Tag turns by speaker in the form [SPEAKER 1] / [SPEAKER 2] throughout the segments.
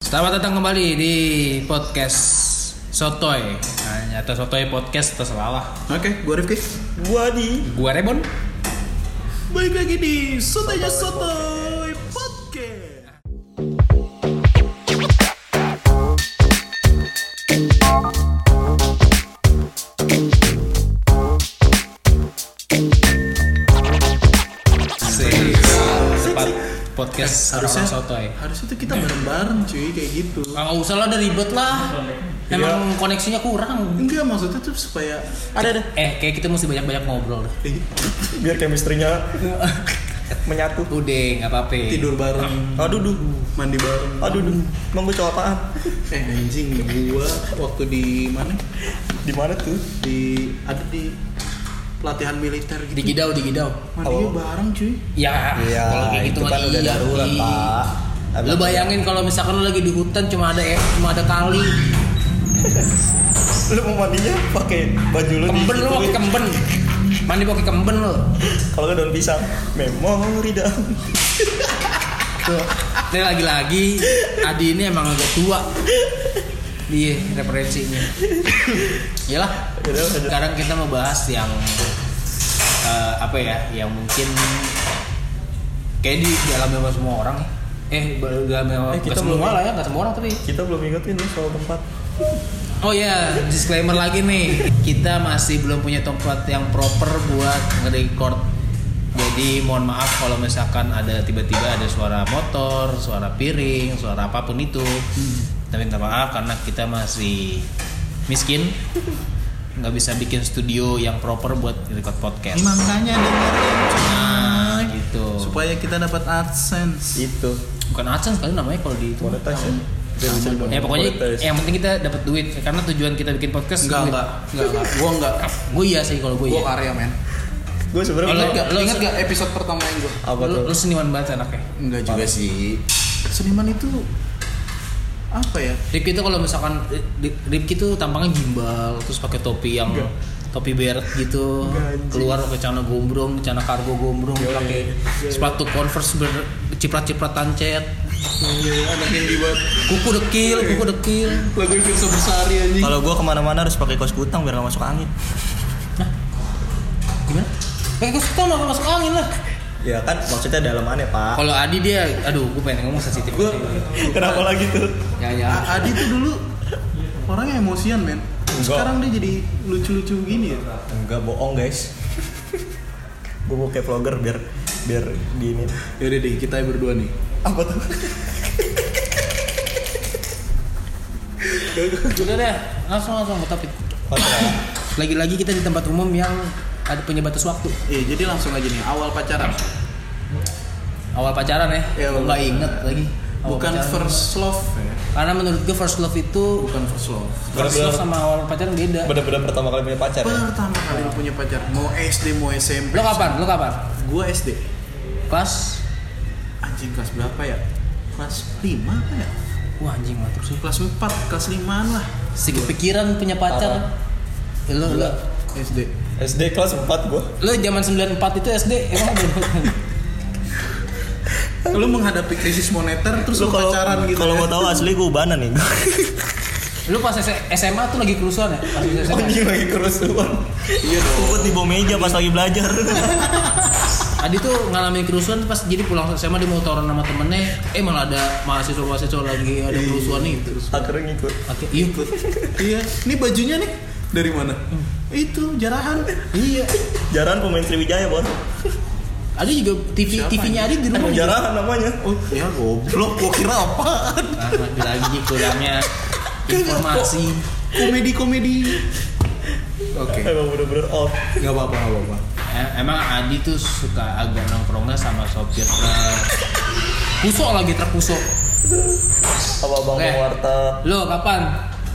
[SPEAKER 1] Selamat datang kembali di podcast Sotoy. Nah, nyata Sotoy podcast terserah lah.
[SPEAKER 2] Oke, gua Rifki.
[SPEAKER 3] Gua di
[SPEAKER 1] Gua Rebon.
[SPEAKER 3] balik lagi di Sotanya Sotoy Podcast.
[SPEAKER 1] Sih. Tempat
[SPEAKER 3] Eh,
[SPEAKER 1] podcast harusnya
[SPEAKER 2] Harusnya
[SPEAKER 1] Sotoy.
[SPEAKER 2] Harusnya tuh kita bareng-bareng cuy kayak gitu.
[SPEAKER 1] Ah, nggak usah lah, udah ribet lah.
[SPEAKER 3] Iya.
[SPEAKER 1] Emang koneksinya kurang.
[SPEAKER 2] Enggak maksudnya tuh supaya
[SPEAKER 3] Ada ada
[SPEAKER 1] Eh, kayak kita mesti banyak-banyak ngobrol. dah.
[SPEAKER 2] eh,
[SPEAKER 3] biar chemistry-nya menyatu.
[SPEAKER 1] Udah, nggak apa-apa.
[SPEAKER 2] tidur bareng,
[SPEAKER 3] Aduh duh.
[SPEAKER 2] mandi bareng.
[SPEAKER 3] Aduh duh. Emang gua cowok apaan?
[SPEAKER 2] Eh anjing gua waktu di mana?
[SPEAKER 3] Di mana tuh?
[SPEAKER 2] Di ada di pelatihan militer
[SPEAKER 1] Di
[SPEAKER 2] gitu.
[SPEAKER 1] gidau, di gidau.
[SPEAKER 2] Mandinya
[SPEAKER 3] Oh.
[SPEAKER 2] bareng cuy.
[SPEAKER 1] Ya,
[SPEAKER 3] Iya,
[SPEAKER 1] kalau kayak gitu
[SPEAKER 3] itu
[SPEAKER 1] mah
[SPEAKER 3] kan udah
[SPEAKER 1] iya,
[SPEAKER 3] darurat,
[SPEAKER 1] Ki.
[SPEAKER 3] Pak. Ada-
[SPEAKER 1] Lu bayangin kalau misalkan lu lagi di hutan cuma ada eh, cuma ada kali.
[SPEAKER 3] Lu mau mandinya pakai baju lu
[SPEAKER 1] Kemben lu pakai
[SPEAKER 3] di
[SPEAKER 1] kemben. Mandi pakai kemben lu.
[SPEAKER 3] Kalau nggak daun pisang. Memori daun.
[SPEAKER 1] Tuh. Ini lagi-lagi Adi ini emang agak tua. Dia referensinya. Iyalah.
[SPEAKER 3] Yaudah, lanjut.
[SPEAKER 1] Sekarang kita mau bahas yang eh, apa ya? Yang mungkin kayak di dalam memang semua orang. Eh, dalam memang
[SPEAKER 3] Eh, kita
[SPEAKER 1] semua
[SPEAKER 3] belum-
[SPEAKER 1] lah ya, nggak semua orang tapi
[SPEAKER 3] Kita belum ingetin nih soal tempat.
[SPEAKER 1] Oh ya, disclaimer lagi nih. Kita masih belum punya tempat yang proper buat nge-record. Jadi mohon maaf kalau misalkan ada tiba-tiba ada suara motor, suara piring, suara apapun itu. Kita minta maaf karena kita masih miskin. Nggak bisa bikin studio yang proper buat record podcast.
[SPEAKER 2] Makanya dengerin
[SPEAKER 1] Nah,
[SPEAKER 2] cuy.
[SPEAKER 1] gitu.
[SPEAKER 2] Supaya kita dapat adsense.
[SPEAKER 3] Itu.
[SPEAKER 1] Bukan AdSense kali namanya kalau di itu.
[SPEAKER 3] Monetize ya.
[SPEAKER 1] Ya pokoknya yang penting kita dapat duit karena tujuan kita bikin podcast
[SPEAKER 2] Enggak,
[SPEAKER 1] duit.
[SPEAKER 2] enggak, enggak, enggak. Gua enggak.
[SPEAKER 1] Gue iya sih kalau gue
[SPEAKER 2] Gua
[SPEAKER 1] iya.
[SPEAKER 2] karya, men.
[SPEAKER 3] Gue sebenarnya
[SPEAKER 1] Kalau-
[SPEAKER 2] Ingat gak,
[SPEAKER 1] Lo-
[SPEAKER 2] ingat gak episode pertama yang gua?
[SPEAKER 3] apa
[SPEAKER 1] lu,
[SPEAKER 3] tuh?
[SPEAKER 1] lu seniman banget anaknya
[SPEAKER 2] Enggak juga sih. Seniman itu apa ya?
[SPEAKER 1] Ripki itu kalau misalkan eh, Ri- Ripki tuh tampangnya gimbal terus pakai topi yang
[SPEAKER 3] Enggak.
[SPEAKER 1] topi beret gitu
[SPEAKER 3] Enggak, anjing. iya,
[SPEAKER 1] keluar pakai celana gombrong celana kargo gombrong
[SPEAKER 3] Yoi.
[SPEAKER 1] pakai
[SPEAKER 3] Yoi.
[SPEAKER 1] sepatu converse berciprat-cipratan cet
[SPEAKER 2] Anak yang dibuat
[SPEAKER 1] kuku dekil kuku dekil
[SPEAKER 2] lagu Firsa Besari anjing.
[SPEAKER 3] Kalau gua kemana-mana harus pakai kaos kutang biar nggak masuk angin.
[SPEAKER 1] gimana kayak gue suka nggak masuk angin lah
[SPEAKER 3] Ya kan maksudnya dalamannya pak.
[SPEAKER 1] kalau Adi dia aduh gue pengen ngomong sensitif
[SPEAKER 2] Gua
[SPEAKER 3] Kenapa lagi tuh?
[SPEAKER 1] ya ya
[SPEAKER 2] A- Adi tuh dulu orangnya emosian, men.
[SPEAKER 3] Enggak.
[SPEAKER 2] Sekarang dia jadi lucu-lucu gini ya.
[SPEAKER 3] Enggak bohong guys. gue mau kayak vlogger biar biar di ini.
[SPEAKER 2] Yaudah Ya deh, kita berdua nih.
[SPEAKER 3] Apa tuh?
[SPEAKER 1] udah deh langsung langsung ke topik
[SPEAKER 3] Hotel.
[SPEAKER 1] lagi-lagi kita di tempat umum yang ada punya batas waktu
[SPEAKER 2] Iya, jadi langsung aja nih awal pacaran.
[SPEAKER 1] awal pacaran
[SPEAKER 2] Iya,
[SPEAKER 1] ya,
[SPEAKER 2] awal
[SPEAKER 1] nggak inget lagi Awal
[SPEAKER 2] Bukan
[SPEAKER 1] pacaran.
[SPEAKER 2] first love ya.
[SPEAKER 1] Karena menurut gue first love itu
[SPEAKER 2] Bukan first love.
[SPEAKER 1] first love sama awal pacaran beda.
[SPEAKER 3] Bener-bener pertama kali punya pacar ya.
[SPEAKER 2] Pertama kali lu punya pacar, mau SD mau SMP.
[SPEAKER 1] Lo kapan? Lo kapan?
[SPEAKER 2] Gua SD.
[SPEAKER 1] Kelas?
[SPEAKER 2] Anjing kelas berapa ya? Kelas 5 apa ya?
[SPEAKER 1] Wah anjing mantap sih.
[SPEAKER 2] Kelas 4, kelas 5-an lah.
[SPEAKER 1] Si kepikiran punya pacar. Eh, Lo lo
[SPEAKER 2] SD.
[SPEAKER 3] SD kelas 4 gue.
[SPEAKER 1] lo zaman 94 itu SD emang belum.
[SPEAKER 2] Lu menghadapi krisis moneter terus lu pacaran gitu.
[SPEAKER 3] Kalau
[SPEAKER 2] ya?
[SPEAKER 3] mau tahu asli gue ubanan nih.
[SPEAKER 1] Lo pas S- SMA tuh lagi kerusuhan ya? Pas lagi
[SPEAKER 2] Oh,
[SPEAKER 1] SMA.
[SPEAKER 3] Anjing Oh, lagi kerusuhan.
[SPEAKER 2] Iya dong.
[SPEAKER 3] Kumpet di bawah meja pas lagi belajar.
[SPEAKER 1] Adi tuh ngalamin kerusuhan pas jadi pulang SMA dia mau taruhan sama temennya. Eh malah ada mahasiswa mahasiswa lagi ada kerusuhan itu.
[SPEAKER 3] Akhirnya ngikut.
[SPEAKER 1] Oke, iya.
[SPEAKER 2] iya, ini bajunya nih dari mana? Itu jarahan.
[SPEAKER 1] Iya.
[SPEAKER 3] Jaran pemain Sriwijaya bor.
[SPEAKER 1] Adi juga TV
[SPEAKER 2] Siapa
[SPEAKER 1] TV-nya Adi di rumah.
[SPEAKER 3] Emang
[SPEAKER 1] juga.
[SPEAKER 3] jarahan namanya.
[SPEAKER 2] Oh, ya goblok, gua kira apaan?
[SPEAKER 1] Ah, lagi kurangnya informasi.
[SPEAKER 2] Komedi-komedi. Oke.
[SPEAKER 3] Emang bener-bener off.
[SPEAKER 2] Gak apa-apa, gak apa-apa.
[SPEAKER 1] Em- Emang Adi tuh suka agak nongkrongnya sama sopir truk. Pusok lagi truk pusok.
[SPEAKER 3] Apa bang
[SPEAKER 1] Oke.
[SPEAKER 3] Bang warteg.
[SPEAKER 1] Lo kapan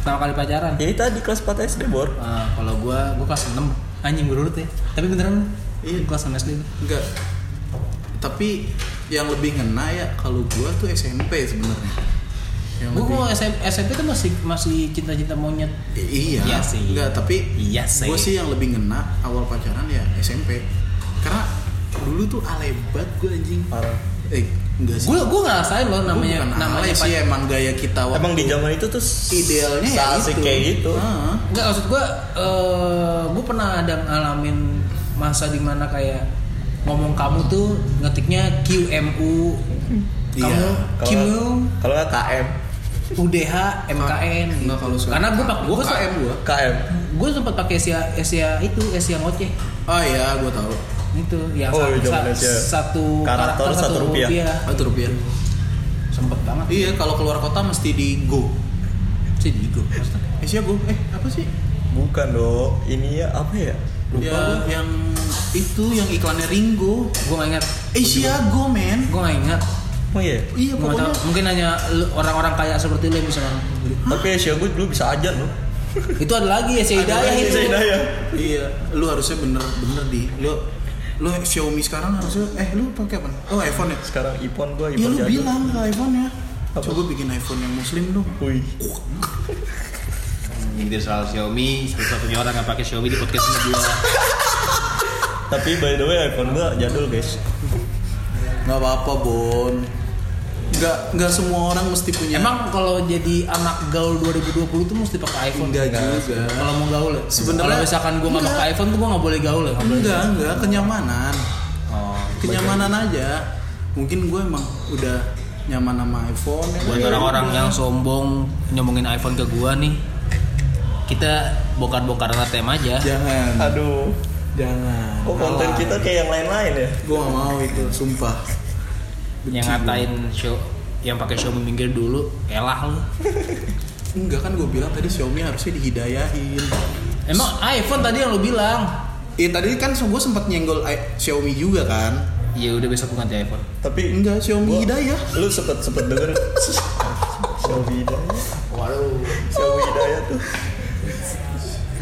[SPEAKER 1] pertama kali pacaran?
[SPEAKER 3] Jadi tadi kelas 4 SD bor.
[SPEAKER 1] Ah, kalau gua gua kelas 6 anjing berurut ya. Tapi beneran
[SPEAKER 2] Iya.
[SPEAKER 1] kelas 6 SD.
[SPEAKER 2] Enggak. Tapi yang lebih ngena ya kalau gua tuh SMP sebenarnya. Yang
[SPEAKER 1] Gua
[SPEAKER 2] lebih-
[SPEAKER 1] gua SM SMP tuh masih masih cinta-cinta monyet.
[SPEAKER 2] I- Iya.
[SPEAKER 1] Iya sih.
[SPEAKER 2] Enggak, tapi
[SPEAKER 1] Iya sih.
[SPEAKER 2] Gua sih yang lebih ngena awal pacaran ya SMP. Karena dulu tuh alay banget gua anjing.
[SPEAKER 3] Parah.
[SPEAKER 2] eh enggak sih
[SPEAKER 1] Gue gue ngerasain loh namanya
[SPEAKER 2] Bukan
[SPEAKER 1] namanya
[SPEAKER 2] alay sih
[SPEAKER 1] pac-
[SPEAKER 2] emang gaya kita waktu
[SPEAKER 3] Emang di zaman itu tuh s-
[SPEAKER 2] idealnya ya
[SPEAKER 3] seasik kayak gitu.
[SPEAKER 2] Heeh.
[SPEAKER 1] Enggak maksud gue eh gue pernah ada ngalamin masa dimana kayak ngomong kamu tuh ngetiknya QMU kamu
[SPEAKER 2] Iya.
[SPEAKER 3] Kalau
[SPEAKER 1] QMU
[SPEAKER 3] kalau nggak KM,
[SPEAKER 1] UDH MKN gitu.
[SPEAKER 2] Nggak, kalau suka- ah.
[SPEAKER 1] karena gue pak
[SPEAKER 2] Gua
[SPEAKER 1] gue
[SPEAKER 2] KM gua.
[SPEAKER 3] KM.
[SPEAKER 1] gue sempat pakai Asia Asia itu Asia ngoceh
[SPEAKER 2] oh iya gue tahu
[SPEAKER 1] itu yang
[SPEAKER 3] Oh,
[SPEAKER 1] sa-
[SPEAKER 3] iya,
[SPEAKER 1] sa-
[SPEAKER 3] Malaysia.
[SPEAKER 1] satu
[SPEAKER 3] Karakter, satu rupiah.
[SPEAKER 2] Ah, itu rupiah
[SPEAKER 1] sempet banget
[SPEAKER 2] iya kalau keluar kota mesti di go
[SPEAKER 1] sih di Igo.
[SPEAKER 2] Asia go eh apa sih
[SPEAKER 3] Bukan dong, ini ya apa ya? Lupa
[SPEAKER 2] ya
[SPEAKER 3] gua.
[SPEAKER 2] yang itu yang iklannya Ringo
[SPEAKER 1] gue gak ingat
[SPEAKER 2] Asia go men
[SPEAKER 1] gue gak ingat
[SPEAKER 3] Oh iya.
[SPEAKER 2] Eh, iya
[SPEAKER 1] Gua nggak
[SPEAKER 2] pokoknya
[SPEAKER 1] tahu. mungkin hanya lu- orang-orang kaya seperti lu yang bisa beli.
[SPEAKER 3] Tapi Asia gue dulu bisa aja loh.
[SPEAKER 1] itu ada lagi ya
[SPEAKER 2] Ada
[SPEAKER 1] Hidayah
[SPEAKER 2] lagi,
[SPEAKER 1] itu
[SPEAKER 2] Asia
[SPEAKER 3] Hidayah.
[SPEAKER 2] iya lu harusnya bener bener di lu lu Xiaomi sekarang harusnya eh lu pakai apa oh iPhone ya
[SPEAKER 3] Sekarang iPhone gue
[SPEAKER 2] Iya
[SPEAKER 3] iPhone
[SPEAKER 2] lu
[SPEAKER 3] jadul.
[SPEAKER 2] bilang ke iPhone ya
[SPEAKER 3] Apa?
[SPEAKER 2] coba bikin iPhone yang muslim dong
[SPEAKER 3] Wih.
[SPEAKER 1] Ini soal Xiaomi, satu-satunya orang yang pakai Xiaomi di podcast ini dua.
[SPEAKER 3] Tapi by the way iPhone gue jadul guys.
[SPEAKER 2] nggak apa-apa Bon nggak nggak semua orang mesti punya
[SPEAKER 1] Emang kalau jadi anak gaul 2020 tuh mesti pakai iPhone?
[SPEAKER 2] Enggak
[SPEAKER 1] Enggak.
[SPEAKER 2] juga.
[SPEAKER 1] Kalau mau gaul ya?
[SPEAKER 2] Sebenarnya-
[SPEAKER 1] Kalau misalkan gua nggak
[SPEAKER 2] Enggak.
[SPEAKER 1] pakai iPhone tuh gua nggak boleh gaul ya? Nggak boleh.
[SPEAKER 2] enggak enggak kenyamanan
[SPEAKER 1] Oh,
[SPEAKER 2] kenyamanan aja mungkin gue emang udah nyaman sama iPhone ya
[SPEAKER 1] Buat
[SPEAKER 2] kan?
[SPEAKER 1] orang-orang yang sombong nyomongin iPhone ke gua nih, kita bongkar-bongkar tem aja.
[SPEAKER 2] jangan
[SPEAKER 3] Aduh.
[SPEAKER 2] jangan
[SPEAKER 1] Oh,
[SPEAKER 3] Kok Oh, konten
[SPEAKER 1] Alay.
[SPEAKER 3] kita kayak yang lain-lain ya?
[SPEAKER 2] gue gak mau itu sumpah Benci
[SPEAKER 1] Yang
[SPEAKER 2] gua.
[SPEAKER 1] ngatain show yang pakai Xiaomi minggir dulu, elah lu.
[SPEAKER 2] enggak kan gue bilang tadi Xiaomi harusnya dihidayahin
[SPEAKER 1] Emang iPhone tadi yang lu bilang?
[SPEAKER 2] Iya tadi kan gue sempat nyenggol i- Xiaomi juga kan
[SPEAKER 1] Ya udah besok gua ganti iPhone.
[SPEAKER 3] Tapi
[SPEAKER 2] enggak Xiaomi
[SPEAKER 3] Gua-
[SPEAKER 2] hidayah
[SPEAKER 3] lu sempet sempet denger Xiaomi Hidayah
[SPEAKER 1] Waduh.
[SPEAKER 3] Xiaomi Hidayah tuh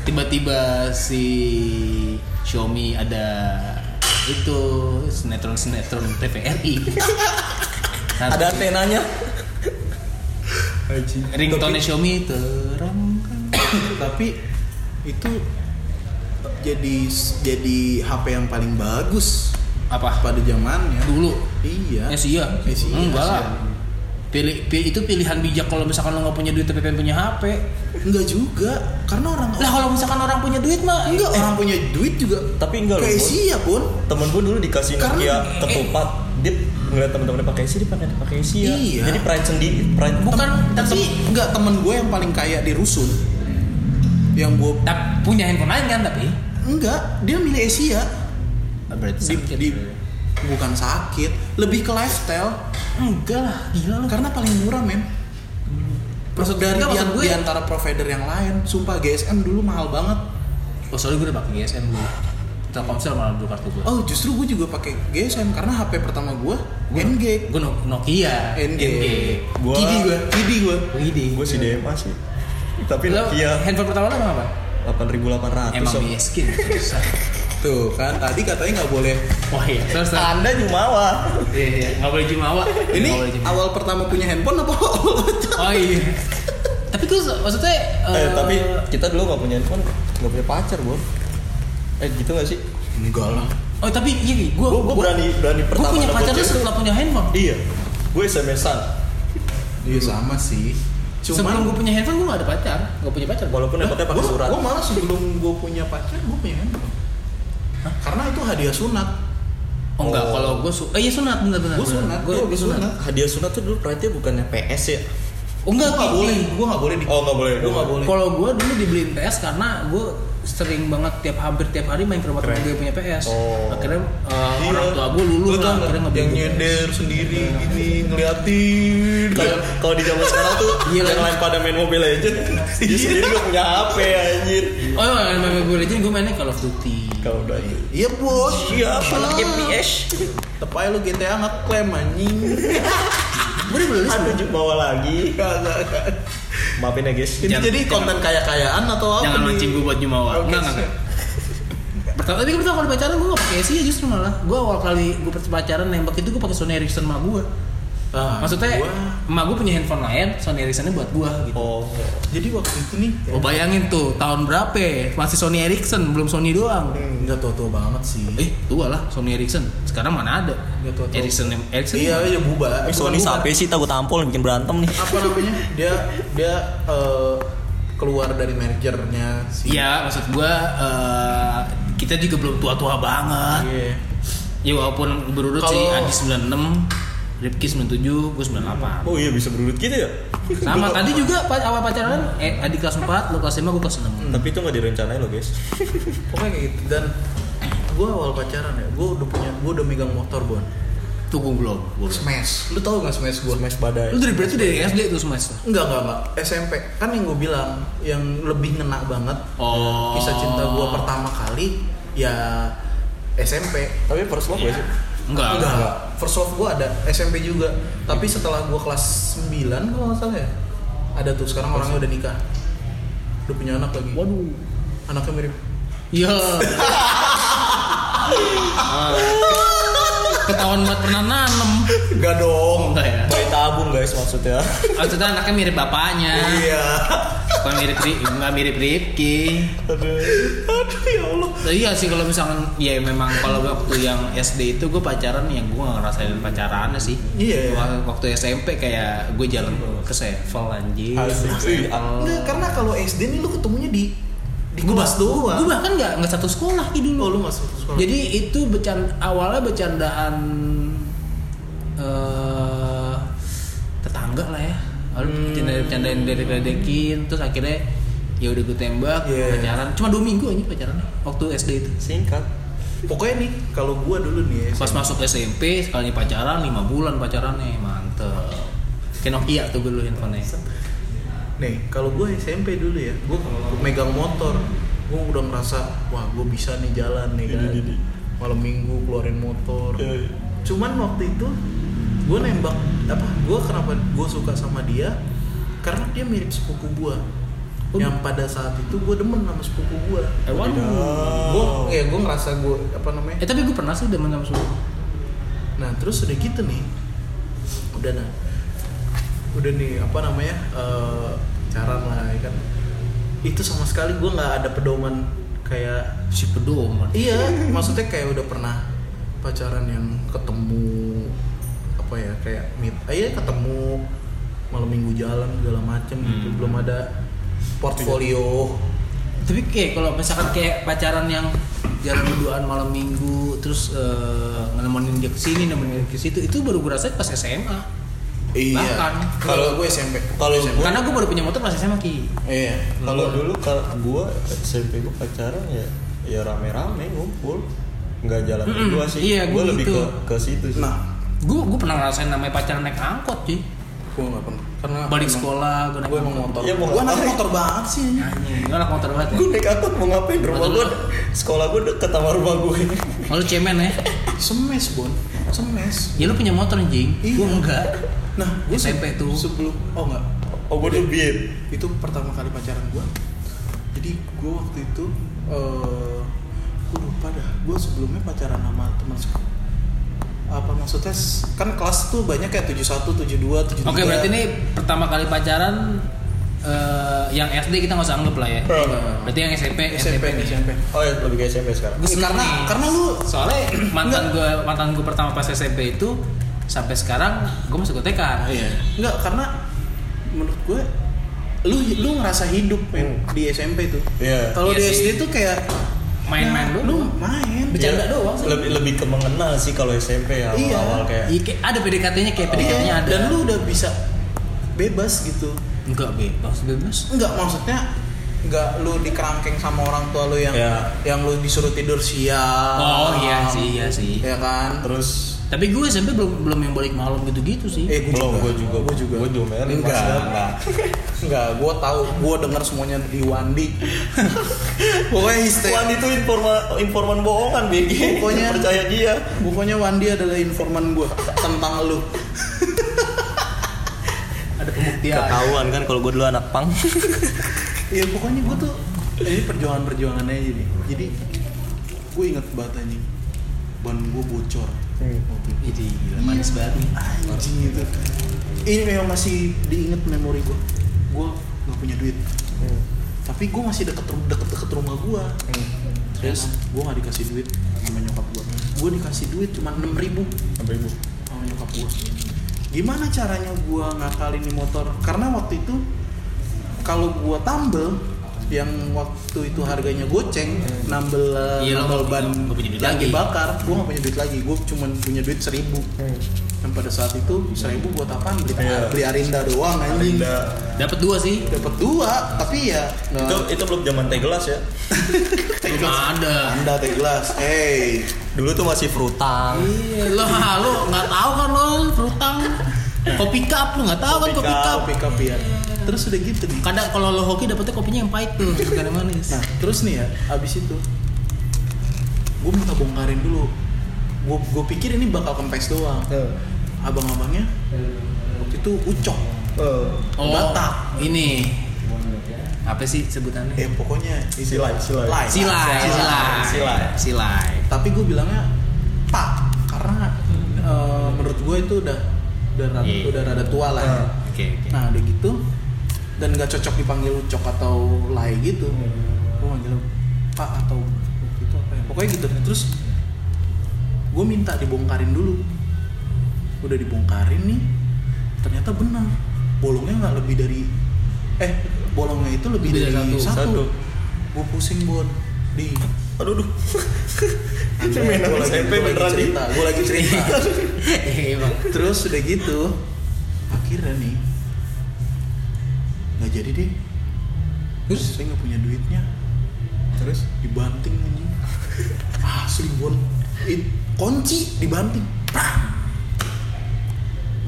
[SPEAKER 1] tiba-tiba si Xiaomi ada itu sinetron sinetron TVRI Satu.
[SPEAKER 3] ada antenanya Haji
[SPEAKER 1] ringtone Xiaomi terangkan Eh,
[SPEAKER 2] tapi itu jadi jadi HP yang paling bagus
[SPEAKER 1] apa
[SPEAKER 2] pada zamannya
[SPEAKER 1] dulu
[SPEAKER 2] iya
[SPEAKER 1] ya sih ya
[SPEAKER 2] Eh, sih,
[SPEAKER 1] enggak
[SPEAKER 2] iya,
[SPEAKER 1] lah pilih pi- itu pilihan bijak kalau misalkan lo nggak punya duit tapi pengen punya HP
[SPEAKER 2] enggak juga karena orang
[SPEAKER 1] lah kalau misalkan orang punya duit mah
[SPEAKER 2] enggak orang punya duit juga
[SPEAKER 3] tapi enggak loh
[SPEAKER 2] kayak
[SPEAKER 3] Bun.
[SPEAKER 2] Sia pun
[SPEAKER 3] temen gue dulu dikasih
[SPEAKER 2] Karena-
[SPEAKER 3] Nokia ketupat dia ngeliat temen-temennya pakai isi dia pakai pakai isi ya
[SPEAKER 2] Iya.
[SPEAKER 3] jadi pride sendiri pride
[SPEAKER 1] bukan
[SPEAKER 2] tapi
[SPEAKER 1] tapi
[SPEAKER 2] enggak temen gue yang paling kaya di rusun yang gue
[SPEAKER 1] tapi punya handphone lain kan tapi
[SPEAKER 2] enggak dia milih Asia
[SPEAKER 1] berarti
[SPEAKER 2] di, di- bukan sakit lebih ke lifestyle
[SPEAKER 1] enggak lah gila lo
[SPEAKER 2] karena paling murah men
[SPEAKER 1] Maksud-
[SPEAKER 2] dari
[SPEAKER 1] enggak,
[SPEAKER 2] di,
[SPEAKER 1] maksud gue-
[SPEAKER 2] di antara provider yang lain sumpah GSM dulu mahal banget
[SPEAKER 1] oh sorry gue udah pakai GSM dulu Telkomsel malah dulu kartu gue
[SPEAKER 2] oh justru gue juga pakai GSM karena HP pertama gue NG
[SPEAKER 1] Gue Nokia.
[SPEAKER 2] NG
[SPEAKER 3] Gua-
[SPEAKER 2] kidi gue kidi gue
[SPEAKER 1] Widi.
[SPEAKER 3] gue si DMA sih tapi
[SPEAKER 1] Lo
[SPEAKER 3] Nokia
[SPEAKER 1] handphone pertama lo emang apa?
[SPEAKER 3] 8800
[SPEAKER 1] Emang
[SPEAKER 3] Om.
[SPEAKER 1] miskin. susah.
[SPEAKER 2] tuh kan tadi katanya nggak boleh
[SPEAKER 1] Wah iya. Terus terus.
[SPEAKER 3] anda jumawa
[SPEAKER 1] Iya iya. Nggak boleh jumawa.
[SPEAKER 2] ini
[SPEAKER 1] Nggak boleh jumawa.
[SPEAKER 2] awal pertama punya handphone apa
[SPEAKER 1] Oh iya. Tapi gue maksudnya.
[SPEAKER 3] eh,
[SPEAKER 1] eh,
[SPEAKER 3] tapi kita dulu nggak punya handphone nggak punya pacar bu eh gitu nggak sih
[SPEAKER 2] enggak lah
[SPEAKER 1] Oh tapi iya gue
[SPEAKER 3] Gua- gua berani- berani pertama
[SPEAKER 1] Gue punya
[SPEAKER 3] dapet
[SPEAKER 1] pacar tuh
[SPEAKER 3] cewek.
[SPEAKER 1] setelah punya handphone.
[SPEAKER 3] iya gue SMS-an
[SPEAKER 2] iya sama sih
[SPEAKER 1] Sebelum
[SPEAKER 2] cuman
[SPEAKER 1] gue punya handphone gue gak ada pacar. Gak punya pacar.
[SPEAKER 3] walaupun dapetnya pakai surat
[SPEAKER 2] gue malah sebelum gue punya pacar gue punya handphone karena itu hadiah sunat
[SPEAKER 1] Oh enggak.
[SPEAKER 3] Oh.
[SPEAKER 1] Kalau gue su eh iya sunat bener bener.
[SPEAKER 2] gue sunat
[SPEAKER 1] Gue
[SPEAKER 2] gua
[SPEAKER 1] sunat.
[SPEAKER 3] hadiah sunat tuh dulu pride-nya bukannya PS ya?
[SPEAKER 1] Oh enggak.
[SPEAKER 2] Gue nggak
[SPEAKER 1] Kiki.
[SPEAKER 2] boleh, gue nggak boleh di.
[SPEAKER 3] Oh, nggak boleh.
[SPEAKER 2] gue nggak boleh.
[SPEAKER 1] Kalau gue dulu dibeliin PS karena gue sering banget tiap hampir tiap hari main ke rumah temen gue yang punya PS.
[SPEAKER 3] Oh.
[SPEAKER 1] Akhirnya eh,
[SPEAKER 2] Iya.
[SPEAKER 1] orang tua gue lulu
[SPEAKER 2] Lu
[SPEAKER 1] lah
[SPEAKER 2] tau nggak
[SPEAKER 1] akhirnya
[SPEAKER 2] yang
[SPEAKER 1] ngebeliin gue PS.
[SPEAKER 2] nyender sendiri gini ngeliatin.
[SPEAKER 3] Kalau kalau di zaman sekarang tuh
[SPEAKER 1] Iya,
[SPEAKER 3] yang
[SPEAKER 1] lah.
[SPEAKER 3] lain pada main Mobile Legend,
[SPEAKER 2] Iya.
[SPEAKER 3] dia sendiri gak punya HP anjir.
[SPEAKER 1] Oh, yang main Mobile Legends gue mainnya Call of Duty.
[SPEAKER 3] Kau udah itu.
[SPEAKER 2] Iya bos.
[SPEAKER 3] Siapa
[SPEAKER 2] Lah.
[SPEAKER 3] anak MPS?
[SPEAKER 2] Tepai lu GTA ngeklaim anjing.
[SPEAKER 1] Gue udah beli
[SPEAKER 3] Aduh, juga bawa lagi.
[SPEAKER 2] Nggak, nggak, nggak.
[SPEAKER 3] Maafin ya guys.
[SPEAKER 2] Ini
[SPEAKER 1] Jangan-
[SPEAKER 2] jadi
[SPEAKER 1] jangan.
[SPEAKER 2] konten kaya-kayaan atau
[SPEAKER 3] Oh,
[SPEAKER 2] apa?
[SPEAKER 1] Jangan
[SPEAKER 3] iya.
[SPEAKER 2] nih?
[SPEAKER 1] mancing gue buat jumawa.
[SPEAKER 2] Oke,
[SPEAKER 1] Enggak enggak.
[SPEAKER 2] siap.
[SPEAKER 1] enggak. Pertama tadi kan pertama kali ya, pacaran gue gak pakai sih justru malah. Gue awal kali gue pacaran nembak itu gue pakai Sony Ericsson mah gue.
[SPEAKER 2] Ah,
[SPEAKER 1] Maksudnya
[SPEAKER 2] gua-
[SPEAKER 1] emak gue punya handphone lain, Sony Ericsson-nya buat gua gitu.
[SPEAKER 3] Oh,
[SPEAKER 2] jadi waktu itu nih
[SPEAKER 1] Oh bayangin tuh tahun berapa? ya? Masih Sony Ericsson, belum Sony doang.
[SPEAKER 3] Hmm.
[SPEAKER 2] nggak tua-tua banget sih
[SPEAKER 1] Eh tua lah Sony Ericsson. Sekarang mana ada?
[SPEAKER 2] Nggak tua-tua.
[SPEAKER 1] Ericsson Ericsson.
[SPEAKER 2] iya iya bubar
[SPEAKER 3] eh,
[SPEAKER 2] Bukan, bukan.
[SPEAKER 3] Sony sampai sih takut tampol bikin berantem nih.
[SPEAKER 2] apa namanya dia dia eh, keluar dari mergernya si
[SPEAKER 1] Iya, maksud gua eh, kita juga belum tua-tua banget.
[SPEAKER 2] Iya.
[SPEAKER 1] Ya walaupun berurut sih
[SPEAKER 2] Kalau-
[SPEAKER 1] Adi 96, Ripki 97, gue 98.
[SPEAKER 3] Oh iya bisa berurut gitu ya?
[SPEAKER 1] Sama kan? tadi juga pa- awal pacaran eh Adi kelas 4, lu kelas 5, gue kelas 6.
[SPEAKER 3] Hmm, Tapi itu nggak direncanain loh guys.
[SPEAKER 2] pokoknya kayak gitu dan gue awal pacaran ya gue udah punya gue udah megang motor bon
[SPEAKER 1] Tuh gue belum. gua belum.
[SPEAKER 2] smash lu tau gak smash gue
[SPEAKER 3] Smash badai.
[SPEAKER 1] Lu dari berarti dari SD tuh semester.
[SPEAKER 2] Enggak, enggak, enggak. SMP. Kan yang gue bilang, yang lebih ngena banget
[SPEAKER 1] Oh.
[SPEAKER 2] kisah cinta gue pertama kali, ya SMP.
[SPEAKER 3] Tapi first love gak sih?
[SPEAKER 1] Enggak.
[SPEAKER 2] Enggak, enggak. First love gue ada SMP juga. Tapi setelah gue kelas 9 kalau nggak salah ya, ada tuh sekarang orangnya udah nikah. Udah punya anak lagi.
[SPEAKER 1] Waduh.
[SPEAKER 2] Anaknya mirip.
[SPEAKER 1] Iya. Ah. Ketahuan banget pernah nanem.
[SPEAKER 2] Enggak dong.
[SPEAKER 1] Oh, enggak ya.
[SPEAKER 3] Bayi tabung guys maksudnya.
[SPEAKER 1] Maksudnya anaknya mirip bapaknya.
[SPEAKER 2] Iya.
[SPEAKER 1] Bukan mirip Ri, enggak mirip Ripki.
[SPEAKER 2] Aduh ya Allah.
[SPEAKER 1] Nah, iya sih kalau misalkan ya memang kalau waktu yang SD itu gue pacaran yang gue gak ngerasain pacarannya sih.
[SPEAKER 2] Iya, iya.
[SPEAKER 1] Wak- Waktu SMP kayak gue jalan ke Sevel anjir.
[SPEAKER 3] Asik sih.
[SPEAKER 2] Enggak, karena kalau SD nih lu ketemunya di di kelas doang.
[SPEAKER 1] Gue bahkan nggak nggak satu sekolah Ki, dulu.
[SPEAKER 2] Oh, lu nggak satu sekolah.
[SPEAKER 1] Jadi itu becan awalnya bercandaan eh tetangga lah ya. Lalu
[SPEAKER 2] Hmm.
[SPEAKER 1] bercanda bercandain dari ledekin terus akhirnya ya udah gue tembak
[SPEAKER 2] Yeah.
[SPEAKER 1] pacaran cuma dua minggu aja pacarannya waktu SD itu
[SPEAKER 3] Singkat.
[SPEAKER 2] Pokoknya nih, kalau gua dulu nih ya,
[SPEAKER 1] pas masuk SMP sekali pacaran lima bulan pacarannya mantep kayak Nokia tuh gue dulu handphonenya
[SPEAKER 2] Nih, kalau gue SMP dulu ya, gue
[SPEAKER 3] Oh.
[SPEAKER 2] megang motor, gue udah merasa, wah gue bisa nih jalan nih kan.
[SPEAKER 3] Ini, ini.
[SPEAKER 2] Malam minggu keluarin motor.
[SPEAKER 3] Iya, iya.
[SPEAKER 2] Cuman waktu itu gue nembak apa? Gue kenapa gue suka sama dia? Karena dia mirip sepupu gue.
[SPEAKER 1] Oh.
[SPEAKER 2] Yang pada saat itu gue demen sama sepupu gue.
[SPEAKER 1] eh, waduh.
[SPEAKER 2] Gue
[SPEAKER 3] Oh.
[SPEAKER 2] ya gue ngerasa gue apa namanya?
[SPEAKER 1] eh tapi gue pernah sih demen sama suhu
[SPEAKER 2] Nah terus udah gitu nih, udah nah, udah nih apa namanya eh pacaran lah ya kan. Itu sama sekali gue nggak ada pedoman kayak
[SPEAKER 1] si pedoman
[SPEAKER 2] iya maksudnya kayak udah pernah pacaran yang ketemu apa ya kayak meet ah, iya ketemu malam minggu jalan segala macem gitu
[SPEAKER 1] Hmm.
[SPEAKER 2] belum ada portfolio
[SPEAKER 1] tapi kayak kalau misalkan kayak pacaran yang jalan berduaan malam minggu terus eh, nemenin dia ke sini nemenin dia ke situ itu baru gue rasain pas SMA
[SPEAKER 3] Iya.
[SPEAKER 1] Bahkan.
[SPEAKER 2] Iya. kalau gue SMP
[SPEAKER 3] Kalau
[SPEAKER 2] SMP
[SPEAKER 3] gua-
[SPEAKER 1] karena gue baru punya motor pas SMA ki
[SPEAKER 2] iya
[SPEAKER 3] Kalau dulu kalau gua SMP gua pacaran ya ya rame-rame ngumpul. Nggak jalan
[SPEAKER 1] Mm-mm.
[SPEAKER 3] berdua sih.
[SPEAKER 1] Iya,
[SPEAKER 3] gua
[SPEAKER 1] gua
[SPEAKER 3] lebih
[SPEAKER 1] gitu.
[SPEAKER 3] ke ke situ sih.
[SPEAKER 2] nah
[SPEAKER 1] gue gue pernah ngerasain namanya pacaran naik angkot cuy
[SPEAKER 2] gue nggak pernah karena
[SPEAKER 1] balik
[SPEAKER 2] emang-
[SPEAKER 1] sekolah gue naik
[SPEAKER 2] gue emang
[SPEAKER 1] angkot.
[SPEAKER 2] motor
[SPEAKER 3] Iya, mau
[SPEAKER 2] gue anak
[SPEAKER 3] ngapain?
[SPEAKER 2] motor banget sih
[SPEAKER 1] anjing gue anak motor banget ya
[SPEAKER 3] Gue naik angkot mau ngapain rumah
[SPEAKER 1] Betul.
[SPEAKER 3] gue sekolah gue deket sama rumah gue
[SPEAKER 1] Oh, lu cemen ya
[SPEAKER 2] semes bon semes
[SPEAKER 1] ya lu punya motor anjing
[SPEAKER 2] Iya.
[SPEAKER 1] gue enggak
[SPEAKER 2] nah gue
[SPEAKER 1] SMP tuh.
[SPEAKER 2] sebelum oh enggak
[SPEAKER 3] oh gue dulu biar
[SPEAKER 2] itu pertama kali pacaran gue jadi gue waktu itu eh gue lupa dah gue sebelumnya pacaran sama teman sekolah apa maksudnya s- kan kelas tuh banyak kayak 71, 72, 73
[SPEAKER 1] oke berarti ini pertama kali pacaran eh, yang SD kita nggak usah anggap lah ya berarti yang SMP
[SPEAKER 2] SMP
[SPEAKER 1] nih.
[SPEAKER 2] SMP
[SPEAKER 3] oh ya, lebih ke SMP sekarang
[SPEAKER 1] Gua
[SPEAKER 2] Eh,
[SPEAKER 1] seneng
[SPEAKER 2] karena-
[SPEAKER 1] nih.
[SPEAKER 2] karena lu-
[SPEAKER 1] soalnya mantan gue mantan gue pertama pas SMP itu sampai sekarang gue masuk ke TK.
[SPEAKER 2] iya enggak karena menurut gue lu lu ngerasa hidup men
[SPEAKER 3] Hmm.
[SPEAKER 2] di SMP tuh
[SPEAKER 3] Iya.
[SPEAKER 2] kalau
[SPEAKER 1] Iya
[SPEAKER 2] di
[SPEAKER 1] sih.
[SPEAKER 2] SD tuh kayak
[SPEAKER 1] Main-main
[SPEAKER 2] ya,
[SPEAKER 1] doang.
[SPEAKER 2] lu main
[SPEAKER 1] Bercanda
[SPEAKER 3] Iya,
[SPEAKER 1] doang sih.
[SPEAKER 3] lebih lebih ke mengenal sih kalau SMP ya awal
[SPEAKER 2] Iya.
[SPEAKER 3] awal kayak
[SPEAKER 1] Iya, kayak ada PDKT-nya kayak
[SPEAKER 2] Iya,
[SPEAKER 1] PDKT-nya ada.
[SPEAKER 2] dan lu udah bisa bebas gitu
[SPEAKER 1] enggak bebas bebas.
[SPEAKER 2] enggak maksudnya enggak lu dikerangkeng sama orang tua lu yang
[SPEAKER 3] Iya.
[SPEAKER 2] yang lu disuruh tidur siang
[SPEAKER 1] Ya. Oh, iya sih, iya sih.
[SPEAKER 2] ya kan
[SPEAKER 3] terus
[SPEAKER 1] Tapi gue SMP belum belum yang balik malam gitu-gitu sih.
[SPEAKER 2] eh gua juga
[SPEAKER 3] belum gue juga
[SPEAKER 2] gua juga
[SPEAKER 3] gue diomelin
[SPEAKER 2] Enggak.
[SPEAKER 3] maksudnya, enggak
[SPEAKER 2] enggak gua tahu gua denger semuanya di Wandi pokoknya
[SPEAKER 1] iya,
[SPEAKER 2] hister-
[SPEAKER 3] Wan itu informa informan bohongan BG
[SPEAKER 2] Pokoknya-
[SPEAKER 3] percaya
[SPEAKER 1] ya.
[SPEAKER 3] dia
[SPEAKER 2] pokoknya Wandi adalah informan gua tentang lu
[SPEAKER 1] Ada pembuktian.
[SPEAKER 3] ketahuan kan kalau gue dulu
[SPEAKER 1] Hmm,
[SPEAKER 3] anak pang
[SPEAKER 2] ya pokoknya gua tuh ini perjuangan perjuangannya aja nih jadi gua inget banget anjing ban gua bocor
[SPEAKER 1] hmm,
[SPEAKER 2] Iya.
[SPEAKER 1] Jadi gila manis banget nih.
[SPEAKER 2] anjing itu ini memang masih diinget memori gue gue nggak punya duit
[SPEAKER 1] hmm,
[SPEAKER 2] tapi gue masih deket rum- deket deket rumah gue
[SPEAKER 1] hmm.
[SPEAKER 2] terus gue nggak dikasih duit sama nyokap gue gue dikasih duit cuma enam ribu
[SPEAKER 3] Sampai
[SPEAKER 1] Iya.
[SPEAKER 3] ibu.
[SPEAKER 2] sama nyokap gue gimana caranya gue ngakalin di motor karena waktu itu kalau gue tambel yang waktu itu harganya goceng nambel eh,
[SPEAKER 1] Iya, lo
[SPEAKER 2] nambel
[SPEAKER 1] nggak
[SPEAKER 2] ban
[SPEAKER 1] punya- nggak punya duit
[SPEAKER 2] yang
[SPEAKER 1] lagi.
[SPEAKER 2] dibakar gue nggak punya duit lagi gue cuman punya duit seribu dan pada saat itu seribu buat apaan beli,
[SPEAKER 3] Hmm. Iya.
[SPEAKER 2] beli arinda doang anjing
[SPEAKER 3] Arinda.
[SPEAKER 1] Dapat dua sih.
[SPEAKER 2] dapat dua tapi ya nggak-
[SPEAKER 3] Itu itu belum zaman teh gelas ya.
[SPEAKER 1] Belum ada.
[SPEAKER 2] anda teh gelas hey
[SPEAKER 3] Dulu tuh masih frutang.
[SPEAKER 1] Iya, lo lo nggak tahu kan lo berutang. Kopi cup lo nggak tahu kan kopi cup.
[SPEAKER 2] kopi kopi ya
[SPEAKER 3] Hmm.
[SPEAKER 2] terus udah gitu nih
[SPEAKER 1] Kadang kalau lo hoki dapetnya kopinya yang pahit tuh, bukan yang manis.
[SPEAKER 2] Nah, terus nih ya, abis itu gue minta bongkarin dulu. Gue gue pikir ini bakal kempes doang.
[SPEAKER 3] Ya.
[SPEAKER 2] Abang-abangnya waktu itu ucok,
[SPEAKER 3] Oh.
[SPEAKER 2] Batak.
[SPEAKER 1] Oh, ini apa sih sebutannya?
[SPEAKER 2] Eh pokoknya itu
[SPEAKER 3] Oh. Silai, silai.
[SPEAKER 2] Lai.
[SPEAKER 1] Silai, silai,
[SPEAKER 3] Silai.
[SPEAKER 1] silai.
[SPEAKER 2] Tapi gue bilangnya pak karena eh, menurut gue itu udah udah rada,
[SPEAKER 1] Iya.
[SPEAKER 2] udah rada tua lah. ya.
[SPEAKER 1] Oke, oke.
[SPEAKER 2] Nah, udah gitu dan gak cocok dipanggil ucok atau lai gitu.
[SPEAKER 1] Iya.
[SPEAKER 2] Gue manggil pak atau waktu itu apa ya? Pokoknya gitu. Terus gue minta dibongkarin dulu. Udah dibongkarin nih, ternyata benar. Bolongnya nggak lebih dari eh bolongnya itu lebih,
[SPEAKER 1] Lebih
[SPEAKER 2] dari,
[SPEAKER 1] dari
[SPEAKER 2] satu.
[SPEAKER 1] satu.
[SPEAKER 3] Satu.
[SPEAKER 2] Gue pusing bon di
[SPEAKER 3] Aduh, aduh. Ini mainan
[SPEAKER 2] Gua lagi-
[SPEAKER 3] SMP
[SPEAKER 2] gua lagi
[SPEAKER 3] beneran nih.
[SPEAKER 2] cerita, gue lagi cerita.
[SPEAKER 1] Iya, Bang.
[SPEAKER 2] Terus udah gitu, akhirnya nih nggak jadi deh. Terus saya nggak punya duitnya,
[SPEAKER 3] Terus
[SPEAKER 2] dibanting anjing. Asli bon, It- kunci dibanting. Prang.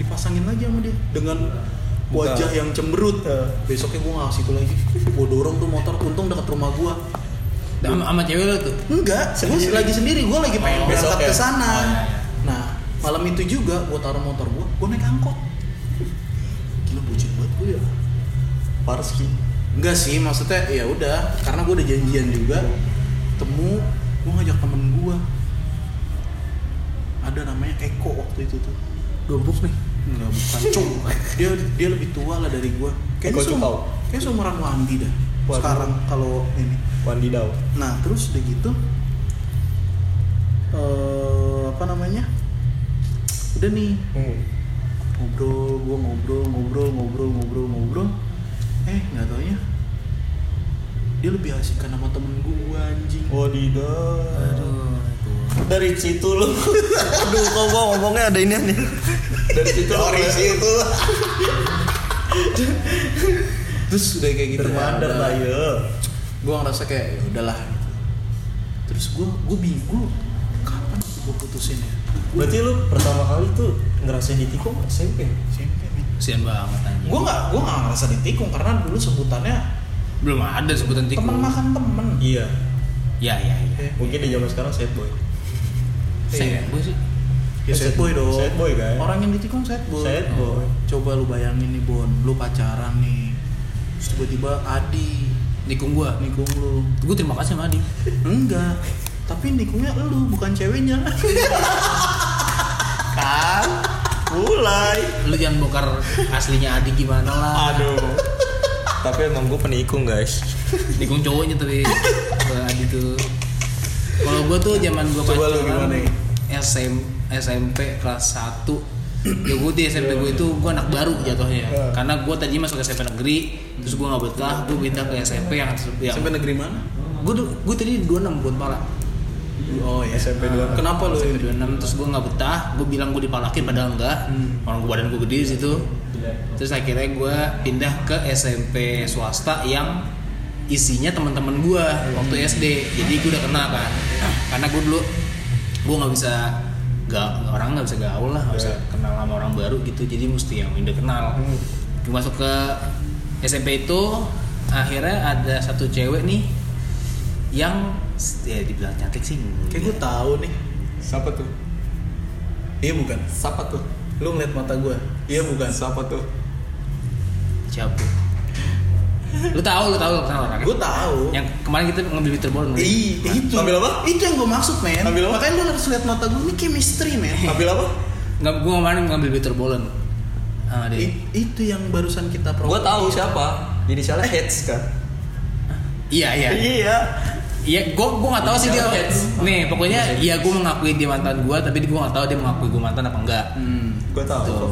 [SPEAKER 2] Dipasangin lagi sama dia dengan wajah
[SPEAKER 3] Buka.
[SPEAKER 2] yang cemberut.
[SPEAKER 3] Eh.
[SPEAKER 2] Besoknya gue ngasih itu lagi. Gue dorong tuh motor, untung dekat rumah gue.
[SPEAKER 1] Dan Sama sama cewek lo tuh.
[SPEAKER 2] Enggak, gue
[SPEAKER 3] Sendiri.
[SPEAKER 2] lagi sendiri, gue lagi pengen
[SPEAKER 1] Oh,
[SPEAKER 2] berangkat
[SPEAKER 3] besoknya.
[SPEAKER 2] ke sana.
[SPEAKER 1] Oh, iya,
[SPEAKER 2] Nah, malam itu juga gue taruh motor gue, gue naik angkot. Gila bucin banget gue ya.
[SPEAKER 3] Parski.
[SPEAKER 2] Enggak sih, maksudnya ya udah, karena gue udah janjian juga. Temu, gue ngajak temen gue. Ada namanya Eko waktu itu tuh.
[SPEAKER 1] Dobuk nih.
[SPEAKER 2] Enggak bukan cung. Dia dia lebih tua lah dari gue. Kayaknya
[SPEAKER 3] Eko Cukau.
[SPEAKER 2] seumuran, kayaknya seumuran Wandi dah.
[SPEAKER 3] Waduh.
[SPEAKER 2] Sekarang kalau ini.
[SPEAKER 3] Wandidau.
[SPEAKER 2] Nah terus udah gitu eh apa namanya? Udah nih
[SPEAKER 3] Hmm.
[SPEAKER 2] ngobrol, gua ngobrol, ngobrol, ngobrol, ngobrol, ngobrol. Eh nggak taunya dia lebih asik karena sama temen gua anjing.
[SPEAKER 3] Wandidau. Dari situ lu. Aduh, kok gua ngomongnya ada ini nih. Dari situ lu.
[SPEAKER 2] Dari situ. Terus udah kayak gitu
[SPEAKER 3] Termandar lah ya.
[SPEAKER 2] Gua ngerasa kayak ya udahlah. gitu. Terus gua gua bingung kapan gua putusin ya?
[SPEAKER 3] Berarti lu pertama kali tuh ngerasain ditikung SMP.
[SPEAKER 2] Sampai
[SPEAKER 1] Kesian banget anjing.
[SPEAKER 2] gue nggak gue nggak ngerasa ditikung karena dulu sebutannya
[SPEAKER 1] belum ada sebutan tikung.
[SPEAKER 2] teman makan temen Iya.
[SPEAKER 3] Iya.
[SPEAKER 1] Ya, ya, ya.
[SPEAKER 3] Eh, Mungkin di zaman sekarang sad boy.
[SPEAKER 1] Saya gue sih.
[SPEAKER 2] ya sad boy dong
[SPEAKER 3] Sad boy, guys.
[SPEAKER 2] orang yang ditikung sad boy Oh.
[SPEAKER 3] Sad boy.
[SPEAKER 2] coba lu bayangin nih bon lu pacaran nih terus tiba-tiba Adi
[SPEAKER 1] nikung gue.
[SPEAKER 2] nikung lu
[SPEAKER 1] Gue terima kasih sama Adi.
[SPEAKER 2] enggak tapi nikungnya lu bukan ceweknya
[SPEAKER 3] Kan mulai.
[SPEAKER 1] Lu jangan bongkar aslinya Adi gimana lah.
[SPEAKER 3] Aduh. Tapi emang gue penikung guys.
[SPEAKER 1] Nikung cowoknya tapi gua Adi tuh. Kalau gue tuh zaman gue
[SPEAKER 2] Coba lu gimana ya?
[SPEAKER 1] SM, SMP kelas 1 ya gue di SMP gue itu gue anak baru jatuhnya
[SPEAKER 3] Iya.
[SPEAKER 1] karena gue tadinya masuk SMP negeri terus gue nggak betah gue pindah ke SMP yang yang
[SPEAKER 2] sampai negeri mana
[SPEAKER 1] gue gue tadi 26 buat pala
[SPEAKER 2] oh ya
[SPEAKER 3] SMP 26.
[SPEAKER 2] kenapa lu
[SPEAKER 1] SMP 26 terus gue nggak betah gue bilang gue dipalakin padahal enggak
[SPEAKER 2] Hmm.
[SPEAKER 1] orang gue badan gue gede di situ terus akhirnya gue pindah ke SMP swasta yang isinya teman-teman gue waktu SD jadi gue udah kenal kan karena gue dulu gue nggak bisa gak orang nggak bisa gaul lah nggak bisa
[SPEAKER 3] Yeah.
[SPEAKER 1] kenal sama orang baru gitu jadi mesti yang udah kenal
[SPEAKER 3] Hmm.
[SPEAKER 1] gue masuk ke SMP itu akhirnya ada satu cewek nih yang ya dibilang cantik sih
[SPEAKER 2] kayak gue tahu nih
[SPEAKER 3] Siapa tuh?
[SPEAKER 2] iya bukan
[SPEAKER 3] Siapa tuh?
[SPEAKER 2] lu ngeliat mata gue iya bukan
[SPEAKER 3] Siapa tuh?
[SPEAKER 1] siapa Lu tahu, lu tahu lu kesana olahraga.
[SPEAKER 2] Gue tahu.
[SPEAKER 1] Yang kemarin kita ngambil bitterborn.
[SPEAKER 3] Iya,
[SPEAKER 2] Ih, itu.
[SPEAKER 3] Ambil apa?
[SPEAKER 2] Itu yang gue maksud, men.
[SPEAKER 3] Ambil apa?
[SPEAKER 2] Makanya lu harus lihat mata gue, ini chemistry, men.
[SPEAKER 3] Ambil apa?
[SPEAKER 1] Nggak, gua kemarin ngambil bitterbollen. Ah, dia.
[SPEAKER 2] I- itu yang barusan kita pro.
[SPEAKER 3] Gua tahu siapa. Inisialnya Heads kan.
[SPEAKER 1] Iya, iya.
[SPEAKER 3] Iya.
[SPEAKER 1] Iya, gue gue nggak tahu sih dia. Nih, pokoknya iya gue mengakui dia mantan gue, tapi gue nggak tahu dia mengakui gue mantan apa enggak.
[SPEAKER 2] Hmm.
[SPEAKER 3] Gua
[SPEAKER 1] Tuh.
[SPEAKER 3] tahu.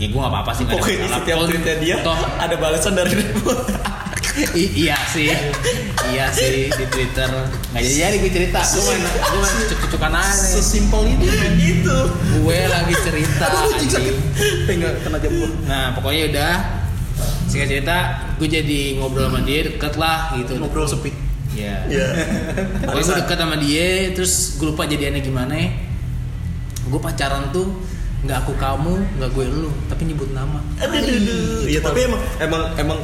[SPEAKER 1] Ya gue nggak apa-apa sih. nggak ada
[SPEAKER 3] Pokoknya di
[SPEAKER 1] masalah.
[SPEAKER 3] setiap
[SPEAKER 1] Toh-
[SPEAKER 3] tweetnya dia
[SPEAKER 1] Toh,
[SPEAKER 3] ada balasan dari Deadpool.
[SPEAKER 1] i- iya sih, iya sih di Twitter nggak jadi jadi gue cerita. Gue main gue main cucuk-cucukan aja. nih.
[SPEAKER 2] Sesimpel itu, men.
[SPEAKER 3] itu.
[SPEAKER 1] Gue lagi cerita.
[SPEAKER 2] Aduh, anjing sakit.
[SPEAKER 1] anjing.
[SPEAKER 2] Eh, nggak kena jam gue.
[SPEAKER 1] Nah, pokoknya udah. Singkat cerita, gue jadi ngobrol sama dia deket lah gitu.
[SPEAKER 2] Ngobrol sepi.
[SPEAKER 1] Iya.
[SPEAKER 3] Iya.
[SPEAKER 1] Pokoknya gue deket sama dia, terus gue lupa jadiannya gimana. Gue pacaran tuh nggak aku kamu, nggak gue lu, tapi nyebut nama.
[SPEAKER 3] Aduh, aduh, aduh. Iya, tapi emang emang emang